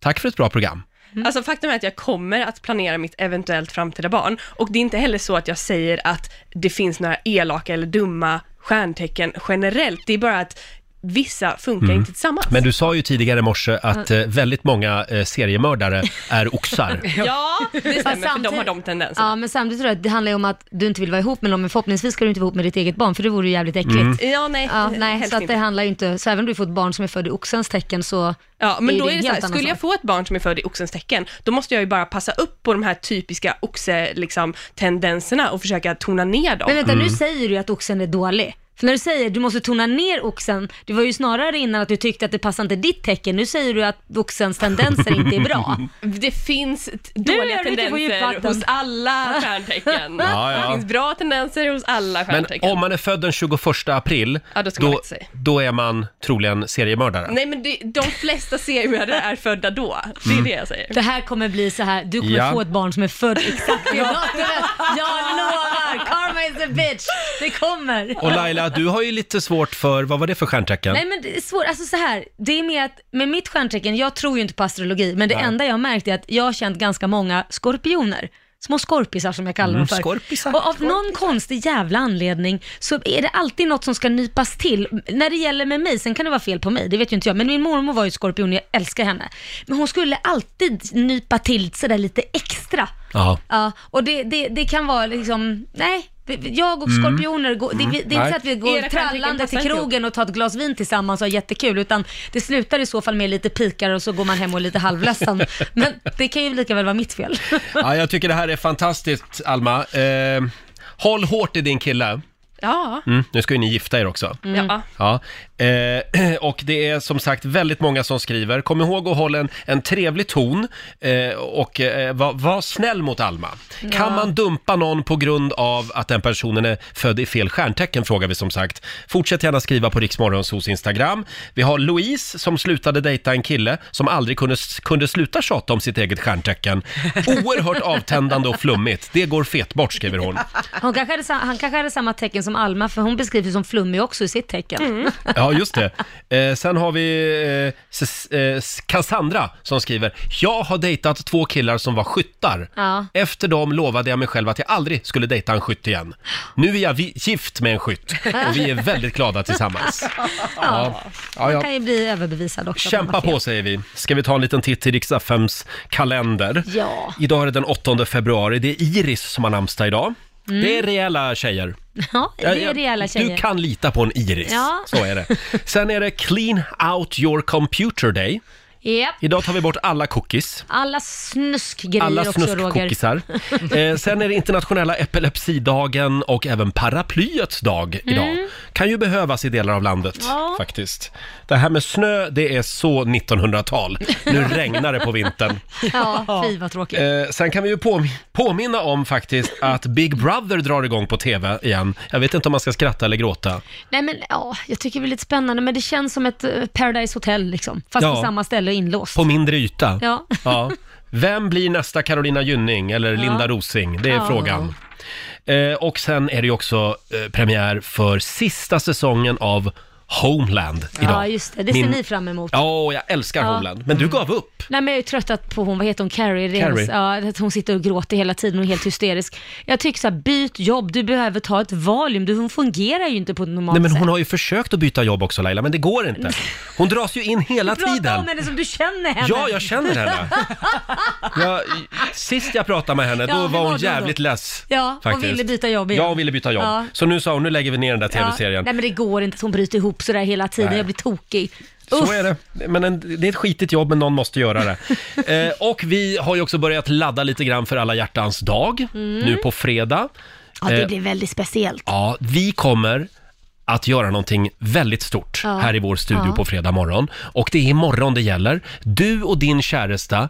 Speaker 1: Tack för ett bra program.
Speaker 9: Alltså faktum är att jag kommer att planera mitt eventuellt framtida barn och det är inte heller så att jag säger att det finns några elaka eller dumma stjärntecken generellt. Det är bara att vissa funkar
Speaker 1: Mm.
Speaker 9: inte tillsammans.
Speaker 1: Men du sa ju tidigare i morse att eh, väldigt många eh, seriemördare är oxar.
Speaker 9: Ja, det stämmer,
Speaker 2: Fast
Speaker 9: för de har de tendenserna.
Speaker 2: Ja, men samtidigt tror jag att det handlar ju om att du inte vill vara ihop med någon, men förhoppningsvis ska du inte vara ihop med ditt eget barn, för det vore ju jävligt äckligt.
Speaker 9: Mm. Ja, nej,
Speaker 2: ja,
Speaker 9: eh,
Speaker 2: nej
Speaker 9: helst
Speaker 2: så att det
Speaker 9: inte.
Speaker 2: handlar ju inte, så även om du får ett barn som är född i oxens tecken så
Speaker 9: Ja, men då
Speaker 2: en
Speaker 9: är det så
Speaker 2: helt
Speaker 9: här,
Speaker 2: annan
Speaker 9: skulle
Speaker 2: sak.
Speaker 9: jag få ett barn som är född i oxens tecken, då måste jag ju bara passa upp på de här typiska oxe-tendenserna och försöka tona ner dem.
Speaker 2: Men vänta,
Speaker 1: Mm.
Speaker 2: nu säger du ju att oxen är dålig. För när du säger du måste tona ner oxen, det var ju snarare innan att du tyckte att det passade inte ditt tecken. Nu säger du att oxens tendenser inte är bra.
Speaker 9: Det finns t-
Speaker 2: Nu är
Speaker 9: dåliga
Speaker 2: du ute på
Speaker 9: tendenser
Speaker 2: djupvatten.
Speaker 9: hos alla stjärntecken.
Speaker 1: Ja, ja.
Speaker 9: Det finns bra tendenser hos alla
Speaker 1: Men
Speaker 9: stjärntecken.
Speaker 1: om man är född den 21 april,
Speaker 9: Ja, då ska man
Speaker 1: då,
Speaker 9: akta sig.
Speaker 1: då är man troligen seriemördare.
Speaker 9: Nej men det, de flesta seriemördare är födda då, det är
Speaker 1: Mm.
Speaker 9: det jag säger.
Speaker 2: Det här kommer bli så här, du kommer
Speaker 1: Ja.
Speaker 2: få ett barn som är född exakt i datumet. Jag lovar! Karma is a bitch. Det kommer.
Speaker 1: Och Laila, du har ju lite svårt för, vad var det för stjärntecken?
Speaker 2: Nej men det är svårt, alltså så här, det är mer att med mitt stjärntecken, jag tror ju inte på astrologi, men det
Speaker 1: Nej.
Speaker 2: enda jag har märkt är att jag har känt ganska många skorpioner. Små skorpisar som jag kallar
Speaker 1: Mm,
Speaker 2: dem för.
Speaker 1: skorpisar.
Speaker 2: och av någon konstig jävla anledning så är det alltid något som ska nypas till. När det gäller med mig, sen kan det vara fel på mig, det vet ju inte jag, men min mormor var ju skorpion, jag älskar henne. Men hon skulle alltid nypa till sådär lite extra.
Speaker 1: Ja.
Speaker 2: Ja, och det, det, det kan vara liksom, nej, jag och
Speaker 1: Mm.
Speaker 2: skorpioner, går, det,
Speaker 1: Mm,
Speaker 2: det är inte
Speaker 1: nej.
Speaker 2: så att vi går
Speaker 9: Era stjärntecken
Speaker 2: trallande
Speaker 9: passar
Speaker 2: till
Speaker 9: inte ihop.
Speaker 2: krogen och tar ett glas vin tillsammans och har jättekul, utan det slutar i så fall med lite pikar och så går man hem och är lite halvledsen. Men det kan ju lika väl vara mitt fel.
Speaker 1: Ja, jag tycker det här är fantastiskt, Alma. Eh, håll hårt i din kille.
Speaker 9: Ja.
Speaker 1: Mm, nu ska ju ni gifta er också.
Speaker 9: ja.
Speaker 1: Ja, eh, och det är som sagt väldigt många som skriver. Kom ihåg att hålla en, en trevlig ton eh, och eh, var, var snäll mot Alma. Kan
Speaker 2: Ja.
Speaker 1: man dumpa någon på grund av att den personen är född i fel stjärntecken frågar vi som sagt. Fortsätt gärna skriva på Riksmorgons hos Instagram. Vi har Louise som slutade dejta en kille som aldrig kunde, kunde sluta tjata om sitt eget stjärntecken. Oerhört avtändande och flummigt. Det går fet bort skriver hon.
Speaker 2: Hon kanske hade, sa- han kanske hade samma tecken som Alma, för hon beskrivs ju som flummig också i sitt tecken.
Speaker 1: Ja, Ja, just det. Eh, sen har vi eh, S- eh, Cassandra som skriver. Jag har dejtat två killar som var skyttar.
Speaker 2: Ja.
Speaker 1: Efter dem lovade jag mig själv att jag aldrig skulle dejta en skytt igen. Nu är jag vi- gift med en skytt och vi är väldigt glada tillsammans.
Speaker 2: Ja.
Speaker 1: Ja,
Speaker 2: Man
Speaker 1: ja.
Speaker 2: kan ju bli överbevisad också. att man
Speaker 1: Kämpa
Speaker 2: har fel.
Speaker 1: på säger vi. Ska vi ta en liten titt i Riks-FMs kalender?
Speaker 2: Ja.
Speaker 1: Idag är det den 8 februari. Det är Iris som har namnsdag idag.
Speaker 2: Mm.
Speaker 1: Det är rejäla tjejer.
Speaker 2: Ja, det är rejäla tjejer.
Speaker 1: Du kan lita på en Iris.
Speaker 2: Ja.
Speaker 1: Så är det. Sen är det Clean Out Your Computer Day.
Speaker 2: Japp.
Speaker 1: Idag tar vi bort alla cookies.
Speaker 2: Alla snuskgrejer
Speaker 1: Alla
Speaker 2: också Roger.
Speaker 1: snuskkookisar. Eh, sen är det internationella epilepsidagen och även paraplyets dag idag.
Speaker 2: Mm.
Speaker 1: Kan ju behövas i delar av landet
Speaker 2: Ja.
Speaker 1: faktiskt. Det här med snö, det är så 1900-tal. Nu regnar det på vintern.
Speaker 2: Ja, fy vad tråkigt.
Speaker 1: Eh, sen kan vi ju påm- påminna om faktiskt att Big Brother drar igång på TV igen. Jag vet inte om man ska skratta eller gråta.
Speaker 2: Nej men ja, jag tycker det är lite spännande men det känns som ett eh, Paradise Hotel liksom. Fast
Speaker 1: Ja.
Speaker 2: på samma ställe och inlåst.
Speaker 1: På mindre yta.
Speaker 2: Ja.
Speaker 1: Vem blir nästa Carolina Gynning eller
Speaker 2: Ja.
Speaker 1: Linda Rosing? Det är
Speaker 2: Ja.
Speaker 1: frågan. Eh, och sen är det ju också eh, premiär för sista säsongen av Homeland idag.
Speaker 2: Ja, just det. Det ser ni fram emot.
Speaker 1: Ja, och jag älskar
Speaker 2: Ja. Mm.
Speaker 1: Homeland. Men du gav upp.
Speaker 2: Nej men jag är tröttat på hon, vad heter hon, Carrie? Det är
Speaker 1: Carrie.
Speaker 2: hennes- Ja, att hon sitter och gråter hela tiden och är helt hysterisk. Jag tycker så här, byt jobb, du behöver ta ett valium, du, hon fungerar ju inte på ett normalt
Speaker 1: Nej, men
Speaker 2: sätt.
Speaker 1: hon har ju försökt att byta jobb också Laila, men det går inte. Hon dras ju in hela
Speaker 2: Prata
Speaker 1: tiden.
Speaker 2: om henne som du känner henne.
Speaker 1: Ja, jag känner henne. Jag, sist jag pratade med henne,
Speaker 2: Ja,
Speaker 1: då var
Speaker 2: det var
Speaker 1: hon
Speaker 2: då, då.
Speaker 1: jävligt less.
Speaker 2: Ja, och
Speaker 1: faktiskt.
Speaker 2: ville byta jobb igen.
Speaker 1: Ja, hon ville byta jobb.
Speaker 2: Ja.
Speaker 1: Så nu sa hon, nu lägger vi ner den där
Speaker 2: Ja.
Speaker 1: tv-serien.
Speaker 2: Nej men det går inte att hon bryter ihop sådär hela tiden,
Speaker 1: Nej.
Speaker 2: jag blir tokig.
Speaker 1: Så är det. Men en, det är ett skitigt jobb, men någon måste göra det. eh, och vi har ju också börjat ladda lite grann för alla hjärtans dag,
Speaker 2: Mm.
Speaker 1: nu på fredag.
Speaker 2: Ja, det
Speaker 1: Eh,
Speaker 2: blir väldigt speciellt.
Speaker 1: Ja, vi kommer att göra någonting väldigt stort
Speaker 2: Ja.
Speaker 1: här i vår studio
Speaker 2: Ja.
Speaker 1: på fredag morgon. Och det är imorgon det gäller. Du och din käresta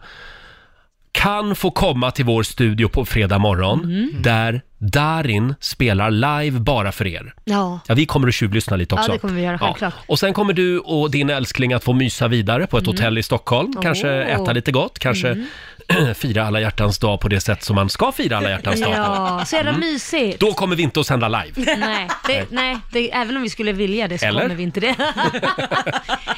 Speaker 1: kan få komma till vår studio på fredag morgon
Speaker 2: Mm.
Speaker 1: där Darin spelar live bara för er.
Speaker 2: Ja.
Speaker 1: Ja, vi kommer att tjuvlyssna lite också.
Speaker 2: Ja, det kommer vi göra, självklart.
Speaker 1: Och sen kommer du och din älskling att få mysa vidare på ett
Speaker 2: Mm.
Speaker 1: hotell i Stockholm. Kanske
Speaker 2: Åh. Mm.
Speaker 1: äta lite gott, kanske fira alla hjärtans dag på det sätt som man ska fira alla hjärtans dag.
Speaker 2: Ja, så jävla
Speaker 1: Mm.
Speaker 2: mysigt.
Speaker 1: Då kommer vi inte att sända live.
Speaker 2: Nej,
Speaker 1: Nej.
Speaker 2: det, nej det, även om vi skulle vilja det så
Speaker 1: Eller?
Speaker 2: kommer vi inte det.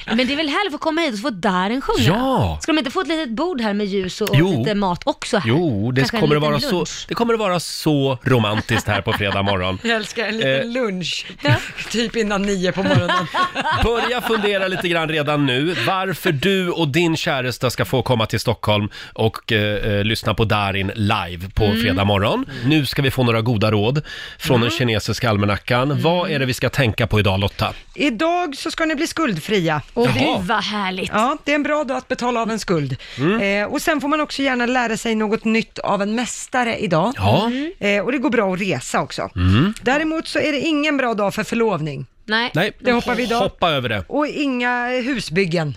Speaker 2: Men det är väl härligt att få komma hit och få Darin sjunga?
Speaker 1: Ja.
Speaker 2: Ska de inte få ett litet bord här med ljus och, och
Speaker 1: Jo.
Speaker 2: lite mat också här?
Speaker 1: Jo, det
Speaker 2: Kanske en
Speaker 1: kommer, att
Speaker 2: liten
Speaker 1: vara så,
Speaker 2: lunch.
Speaker 1: det kommer att vara så romantiskt här på fredag morgon.
Speaker 3: Jag älskar en liten
Speaker 1: Eh.
Speaker 3: lunch, typ innan nio på morgonen.
Speaker 1: Börja fundera lite grann redan nu varför du och din käresta ska få komma till Stockholm och eh, eh, lyssna på Darin live på
Speaker 2: Mm.
Speaker 1: fredag morgon. Nu ska vi få några goda råd från den kinesiska almanackan. Vad
Speaker 2: Mm.
Speaker 1: är det vi ska tänka på idag Lotta?
Speaker 3: Idag så ska ni bli skuldfria.
Speaker 2: Åh, gud vad härligt.
Speaker 3: Ja, det är en bra dag att betala av en skuld.
Speaker 1: Mm.
Speaker 3: Eh, och sen får man också gärna lära sig något nytt av en mästare idag.
Speaker 1: Ja. Mm.
Speaker 3: Eh, och det går bra att resa också.
Speaker 1: Mm.
Speaker 3: Däremot så är det ingen bra dag för förlovning.
Speaker 2: Nej.
Speaker 1: Nej,
Speaker 3: Det hoppar vi idag.
Speaker 1: hoppa över det.
Speaker 3: Och inga husbyggen.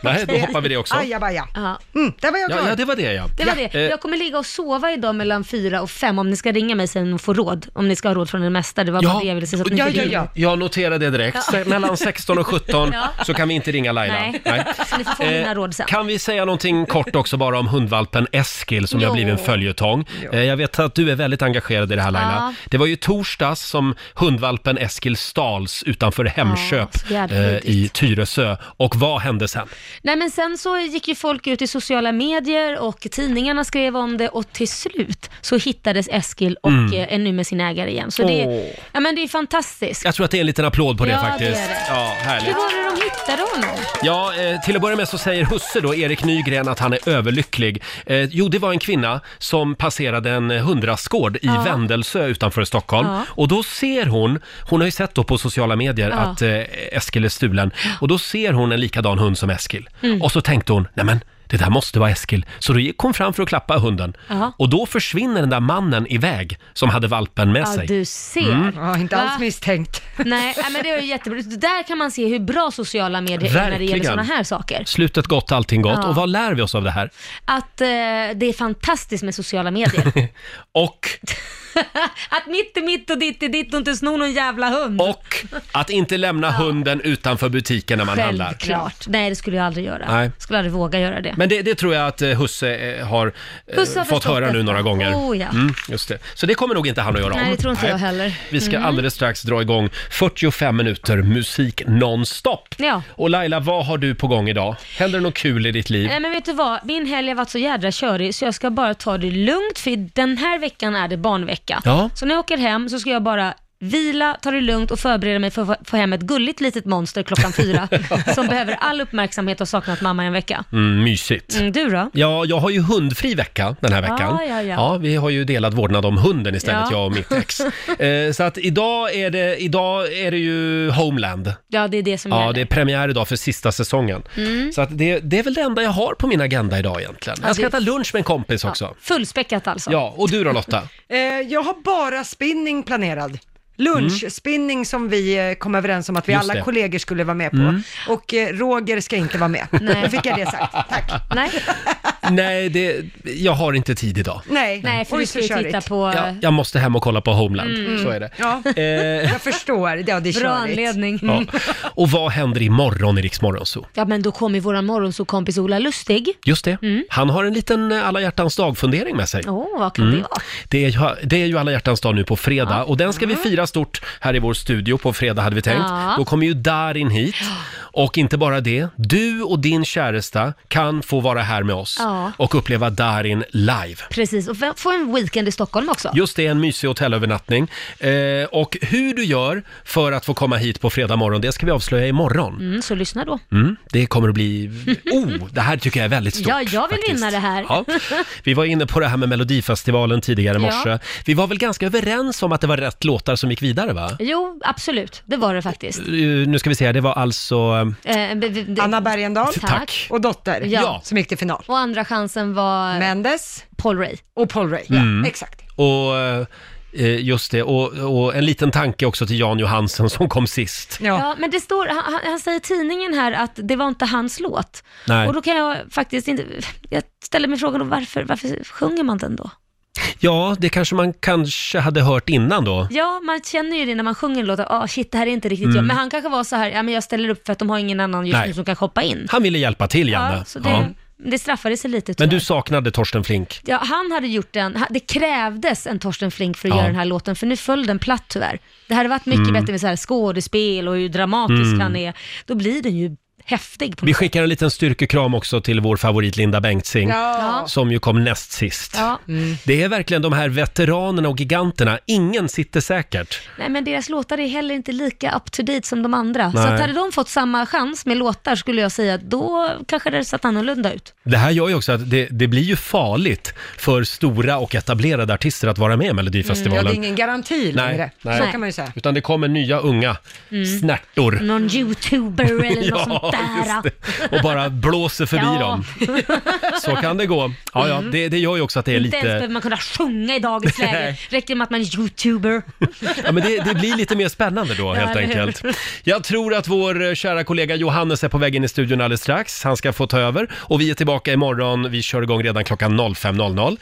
Speaker 1: Nej, då hoppar vi det också.
Speaker 3: Ajabaja.
Speaker 2: Ah, Ja.
Speaker 3: Mm, där var jag klar.
Speaker 1: Ja, ja, det var det ja.
Speaker 2: Det var
Speaker 1: Ja.
Speaker 2: det.
Speaker 1: Eh,
Speaker 2: Jag kommer ligga och sova idag mellan fyra och fem om ni ska ringa mig sen och få råd. Om ni ska ha råd från en mästare. Det var bara det jag ville säga så att ni inte ringer.
Speaker 1: Jag noterar det direkt.
Speaker 2: Ja.
Speaker 1: Se- Mellan 16 och 17
Speaker 2: Ja.
Speaker 1: så kan vi inte ringa Laila.
Speaker 2: Nej. Så ni får få
Speaker 1: Eh,
Speaker 2: mina råd sen.
Speaker 1: Kan vi säga någonting kort också bara om hundvalpen Eskil som ju har
Speaker 2: Jo.
Speaker 1: blivit en följetong? Eh, Jag vet att du är väldigt engagerad i det här Laila.
Speaker 2: Ja.
Speaker 1: Det var ju torsdags som hundvalpen Eskil stals utanför Hemköp
Speaker 2: jävla
Speaker 1: eh,
Speaker 2: vidrigt.
Speaker 1: i Tyresö. Och vad hände sen?
Speaker 2: Nej men sen så gick ju folk ut i sociala medier och tidningarna skrev om det och till slut så hittades Eskil och
Speaker 1: Mm.
Speaker 2: eh, är nu med sin ägare igen. Så det, är- ja, men det är fantastiskt.
Speaker 1: Jag tror att det är en liten applåd på det
Speaker 2: Ja, det är
Speaker 1: faktiskt.
Speaker 2: det.
Speaker 1: Ja, härligt.
Speaker 2: Hur var det de hittade honom?
Speaker 1: Ja, eh, till att börja med så säger husse då, Erik Nygren, att han är överlycklig. Eh, jo, det var en kvinna som passerade en eh, hundrastgård i
Speaker 2: Ja.
Speaker 1: Vändelsö utanför Stockholm.
Speaker 2: Ja.
Speaker 1: Och då ser hon, hon har ju sett då på sociala medier
Speaker 2: Ja.
Speaker 1: att eh, Eskil är stulen. Och då ser hon en likadan hund som Eskil.
Speaker 2: Mm.
Speaker 1: Och så tänkte hon, nej men det där måste vara Eskil. Så då gick hon fram för att klappa hunden.
Speaker 2: Ja.
Speaker 1: Och då försvinner den där mannen iväg som hade valpen med
Speaker 2: Ja,
Speaker 1: sig.
Speaker 2: du ser.
Speaker 1: Mm.
Speaker 3: Ja, inte alls
Speaker 2: Va?
Speaker 3: misstänkt.
Speaker 2: Nej, nej, men det är ju jättebra. Där kan man se hur bra sociala medier är när det
Speaker 1: Verkligen.
Speaker 2: gäller sådana här saker.
Speaker 1: Slutet gott, allting gott.
Speaker 2: Ja.
Speaker 1: Och vad lär vi oss av det här?
Speaker 2: Att eh, det är fantastiskt med sociala medier.
Speaker 1: Och
Speaker 2: att mitt är mitt och ditt är ditt och inte sno någon jävla hund.
Speaker 1: Och Att inte lämna hunden utanför butiken när man handlar.
Speaker 2: Självklart. Nej, det skulle jag aldrig göra.
Speaker 1: Nej.
Speaker 2: Skulle aldrig våga göra det.
Speaker 1: Men det, det tror jag att eh, Husse eh, har eh,
Speaker 2: Husse har
Speaker 1: fått
Speaker 2: förstått
Speaker 1: höra nu
Speaker 2: detta.
Speaker 1: några gånger.
Speaker 2: Oh, ja.
Speaker 1: mm, just det. Så det kommer nog inte han att göra om.
Speaker 2: Nej, det tror inte jag heller.
Speaker 1: Vi ska
Speaker 2: Mm.
Speaker 1: alldeles strax dra igång 45 minuter musik nonstop.
Speaker 2: Ja.
Speaker 1: Och Laila, vad har du på gång idag? Händer det något kul i ditt liv?
Speaker 2: Nej men vet du vad, min helg har varit så jädra körig så jag ska bara ta det lugnt för den här veckan är det barnvecka.
Speaker 1: Ja.
Speaker 2: Så när jag åker hem så ska jag bara vila, ta det lugnt och förbereda mig för att få hem ett gulligt litet monster klockan fyra som behöver all uppmärksamhet och saknat mamma i en vecka.
Speaker 1: Mm, mysigt.
Speaker 2: Mm, du då?
Speaker 1: Ja, jag har ju hundfri vecka den här veckan.
Speaker 2: Ah, Ja, ja, ja.
Speaker 1: vi har ju delat vårdnad om hunden istället,
Speaker 2: Ja.
Speaker 1: jag och mitt ex. eh, så att idag är det, idag är det ju Homeland.
Speaker 2: Ja, det är det som
Speaker 1: Ja,
Speaker 2: gäller.
Speaker 1: det är premiär idag för sista säsongen.
Speaker 2: Mm.
Speaker 1: Så att det, det är väl det enda jag har på min agenda idag egentligen.
Speaker 2: Ja,
Speaker 1: Jag ska
Speaker 2: det-
Speaker 1: äta lunch med en kompis också.
Speaker 2: Fullspäckat alltså.
Speaker 1: Ja, och du då Lotta?
Speaker 3: Eh, jag har bara spinning planerad. Lunchspinning som vi eh, kom överens om att vi
Speaker 1: Just
Speaker 3: alla
Speaker 1: det.
Speaker 3: kollegor skulle vara med på.
Speaker 1: Mm.
Speaker 3: Och eh, Roger ska inte vara med.
Speaker 2: Nej.
Speaker 3: Då fick jag det sagt. Tack.
Speaker 2: Nej.
Speaker 1: Nej, det, jag har inte tid idag.
Speaker 3: Nej,
Speaker 2: Nej för
Speaker 3: Oj,
Speaker 2: du
Speaker 3: så
Speaker 2: ska ju titta
Speaker 3: körigt.
Speaker 2: på... eh,
Speaker 1: Jag, jag måste hem och kolla på Homeland,
Speaker 2: Mm.
Speaker 1: så är det.
Speaker 3: Ja,
Speaker 1: Eh,
Speaker 3: jag förstår. Ja, det är
Speaker 2: Bra
Speaker 3: körigt.
Speaker 2: anledning.
Speaker 1: Ja. Och vad händer imorgon i Rix Morgon Zoo?
Speaker 2: Ja men då kommer våran morgonsåkompis Ola Lustig.
Speaker 1: Just det.
Speaker 2: Mm.
Speaker 1: Han har en liten eh, alla hjärtans dag-fundering med sig.
Speaker 2: Åh, vad
Speaker 1: Mm.
Speaker 2: kan det vara?
Speaker 1: Det är, ju, det är ju alla hjärtans dag nu på fredag och den ska vi fira stort här i vår studio på fredag hade vi tänkt.
Speaker 2: Mm. Ja.
Speaker 1: Då kommer ju Darin hit. Och inte bara det, du och din käresta kan få vara här med oss
Speaker 2: Ja.
Speaker 1: och uppleva Darin live.
Speaker 2: Precis, och få en weekend i Stockholm också.
Speaker 1: Just det, en mysig hotellövernattning. Eh, och hur du gör för att få komma hit på fredag morgon, det ska vi avslöja imorgon.
Speaker 2: Mm, så lyssna då.
Speaker 1: Mm, det kommer att bli... Oh, det här tycker jag är väldigt stort.
Speaker 2: Ja, jag vill vinna det här.
Speaker 1: Ja. Vi var inne på det här med Melodifestivalen tidigare i morse.
Speaker 2: Ja.
Speaker 1: Vi var väl ganska överens om att det var rätt låtar som gick vidare va?
Speaker 2: Jo, absolut. Det var det faktiskt. Eh,
Speaker 1: Eh, Nu ska vi se här, det var alltså...
Speaker 2: Anna
Speaker 3: Bergendahl
Speaker 1: Tack.
Speaker 3: och Dotter
Speaker 2: Ja. Ja.
Speaker 3: som gick till final.
Speaker 2: Och andra chansen var...
Speaker 3: Mendes.
Speaker 2: Paul Ray.
Speaker 3: Och Paul Ray,
Speaker 1: Mm.
Speaker 3: ja, exakt.
Speaker 1: Och, eh, just det, och, och en liten tanke också till Jan Johansen som kom sist.
Speaker 2: Ja. men det står, han, han- han säger i tidningen här att det var inte hans låt.
Speaker 1: Nej.
Speaker 2: Och då kan jag faktiskt inte, jag ställer mig frågan då varför, varför sjunger man den då?
Speaker 1: Ja, det kanske man kanske hade hört innan då.
Speaker 2: Ja, man känner ju det när man sjunger en låt, att ah, shit det här är inte riktigt
Speaker 1: Mm.
Speaker 2: jag. Men han kanske var så här, ja men jag ställer upp för att de har ingen annan just
Speaker 1: Nej.
Speaker 2: nu som kan hoppa in.
Speaker 1: Han ville hjälpa till, Janne.
Speaker 2: Ja, så det,
Speaker 1: Ja.
Speaker 2: det straffade sig lite
Speaker 1: Men
Speaker 2: tyvärr.
Speaker 1: du saknade Torsten Flink.
Speaker 2: Ja, han hade gjort den, ha- det krävdes en Torsten Flink för att
Speaker 1: Ja.
Speaker 2: göra den här låten, för nu föll den platt tyvärr. Det hade varit mycket
Speaker 1: Mm.
Speaker 2: bättre med så här skådespel och hur dramatisk
Speaker 1: Mm.
Speaker 2: han är. Då blir den ju häftig på
Speaker 1: Vi
Speaker 2: något sätt.
Speaker 1: skickar en liten styrkekram också till vår favorit Linda Bengtzing,
Speaker 2: Ja.
Speaker 1: som ju kom näst sist.
Speaker 2: Ja.
Speaker 3: Mm.
Speaker 1: Det är verkligen de här veteranerna och giganterna, ingen sitter säkert.
Speaker 2: Nej, men deras låtar är heller inte lika up to date som de andra. Så
Speaker 1: Nej.
Speaker 2: att hade de fått samma chans med låtar skulle jag säga att då kanske det hade sett annorlunda ut.
Speaker 1: Det här gör ju också att det, det blir ju farligt för stora och etablerade artister att vara med i
Speaker 3: Mm, Ja,
Speaker 1: Melodifestivalen.
Speaker 3: det är ingen garanti längre.
Speaker 1: nej, nej.
Speaker 3: Så kan man ju säga.
Speaker 1: Utan det kommer nya unga
Speaker 2: Mm.
Speaker 1: snärtor.
Speaker 2: Någon youtuber eller något
Speaker 1: Ja,
Speaker 2: sånt där.
Speaker 1: just det. Och bara blåser förbi
Speaker 2: Ja.
Speaker 1: dem. Så kan det gå. Ja, ja,
Speaker 2: Mm.
Speaker 1: det, det gör ju också att det är
Speaker 2: Inte ens
Speaker 1: lite...
Speaker 2: behöver man kunna sjunga i dagens läge.
Speaker 1: Nej.
Speaker 2: Räcker det med att man är youtuber.
Speaker 1: Ja, men det, det blir lite mer spännande då
Speaker 2: Ja,
Speaker 1: helt
Speaker 2: eller hur?
Speaker 1: enkelt. Jag tror att vår eh, kära kollega Johannes är på väg in i studion alldeles strax. Han ska få ta över och vi är tillbaka imorgon. Vi kör igång redan klockan 05.00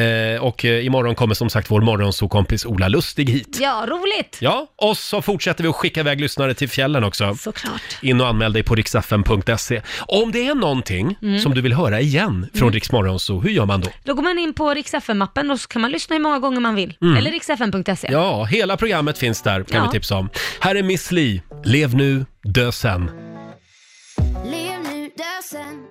Speaker 2: Mm.
Speaker 1: eh, och eh, imorgon kommer som sagt vår morgonsokompis Ola Lustig hit.
Speaker 2: Ja, roligt.
Speaker 1: Ja, och så fortsätter vi att skicka iväg lyssnare till fjällen också.
Speaker 2: Såklart.
Speaker 1: In och anmäl dig på riksfn.se. Om det är någonting
Speaker 2: Mm.
Speaker 1: som du vill höra igen från mm. Riksmorgonso, hur gör man då?
Speaker 2: Då går man in på riksfn-mappen och så kan man lyssna hur många gånger man vill.
Speaker 1: Mm.
Speaker 2: Eller riksfn.se.
Speaker 1: Ja, hela programmet finns där kan
Speaker 2: Ja.
Speaker 1: vi tipsa om. Här
Speaker 12: er
Speaker 1: är Miss Li, Lev nu, dö sen.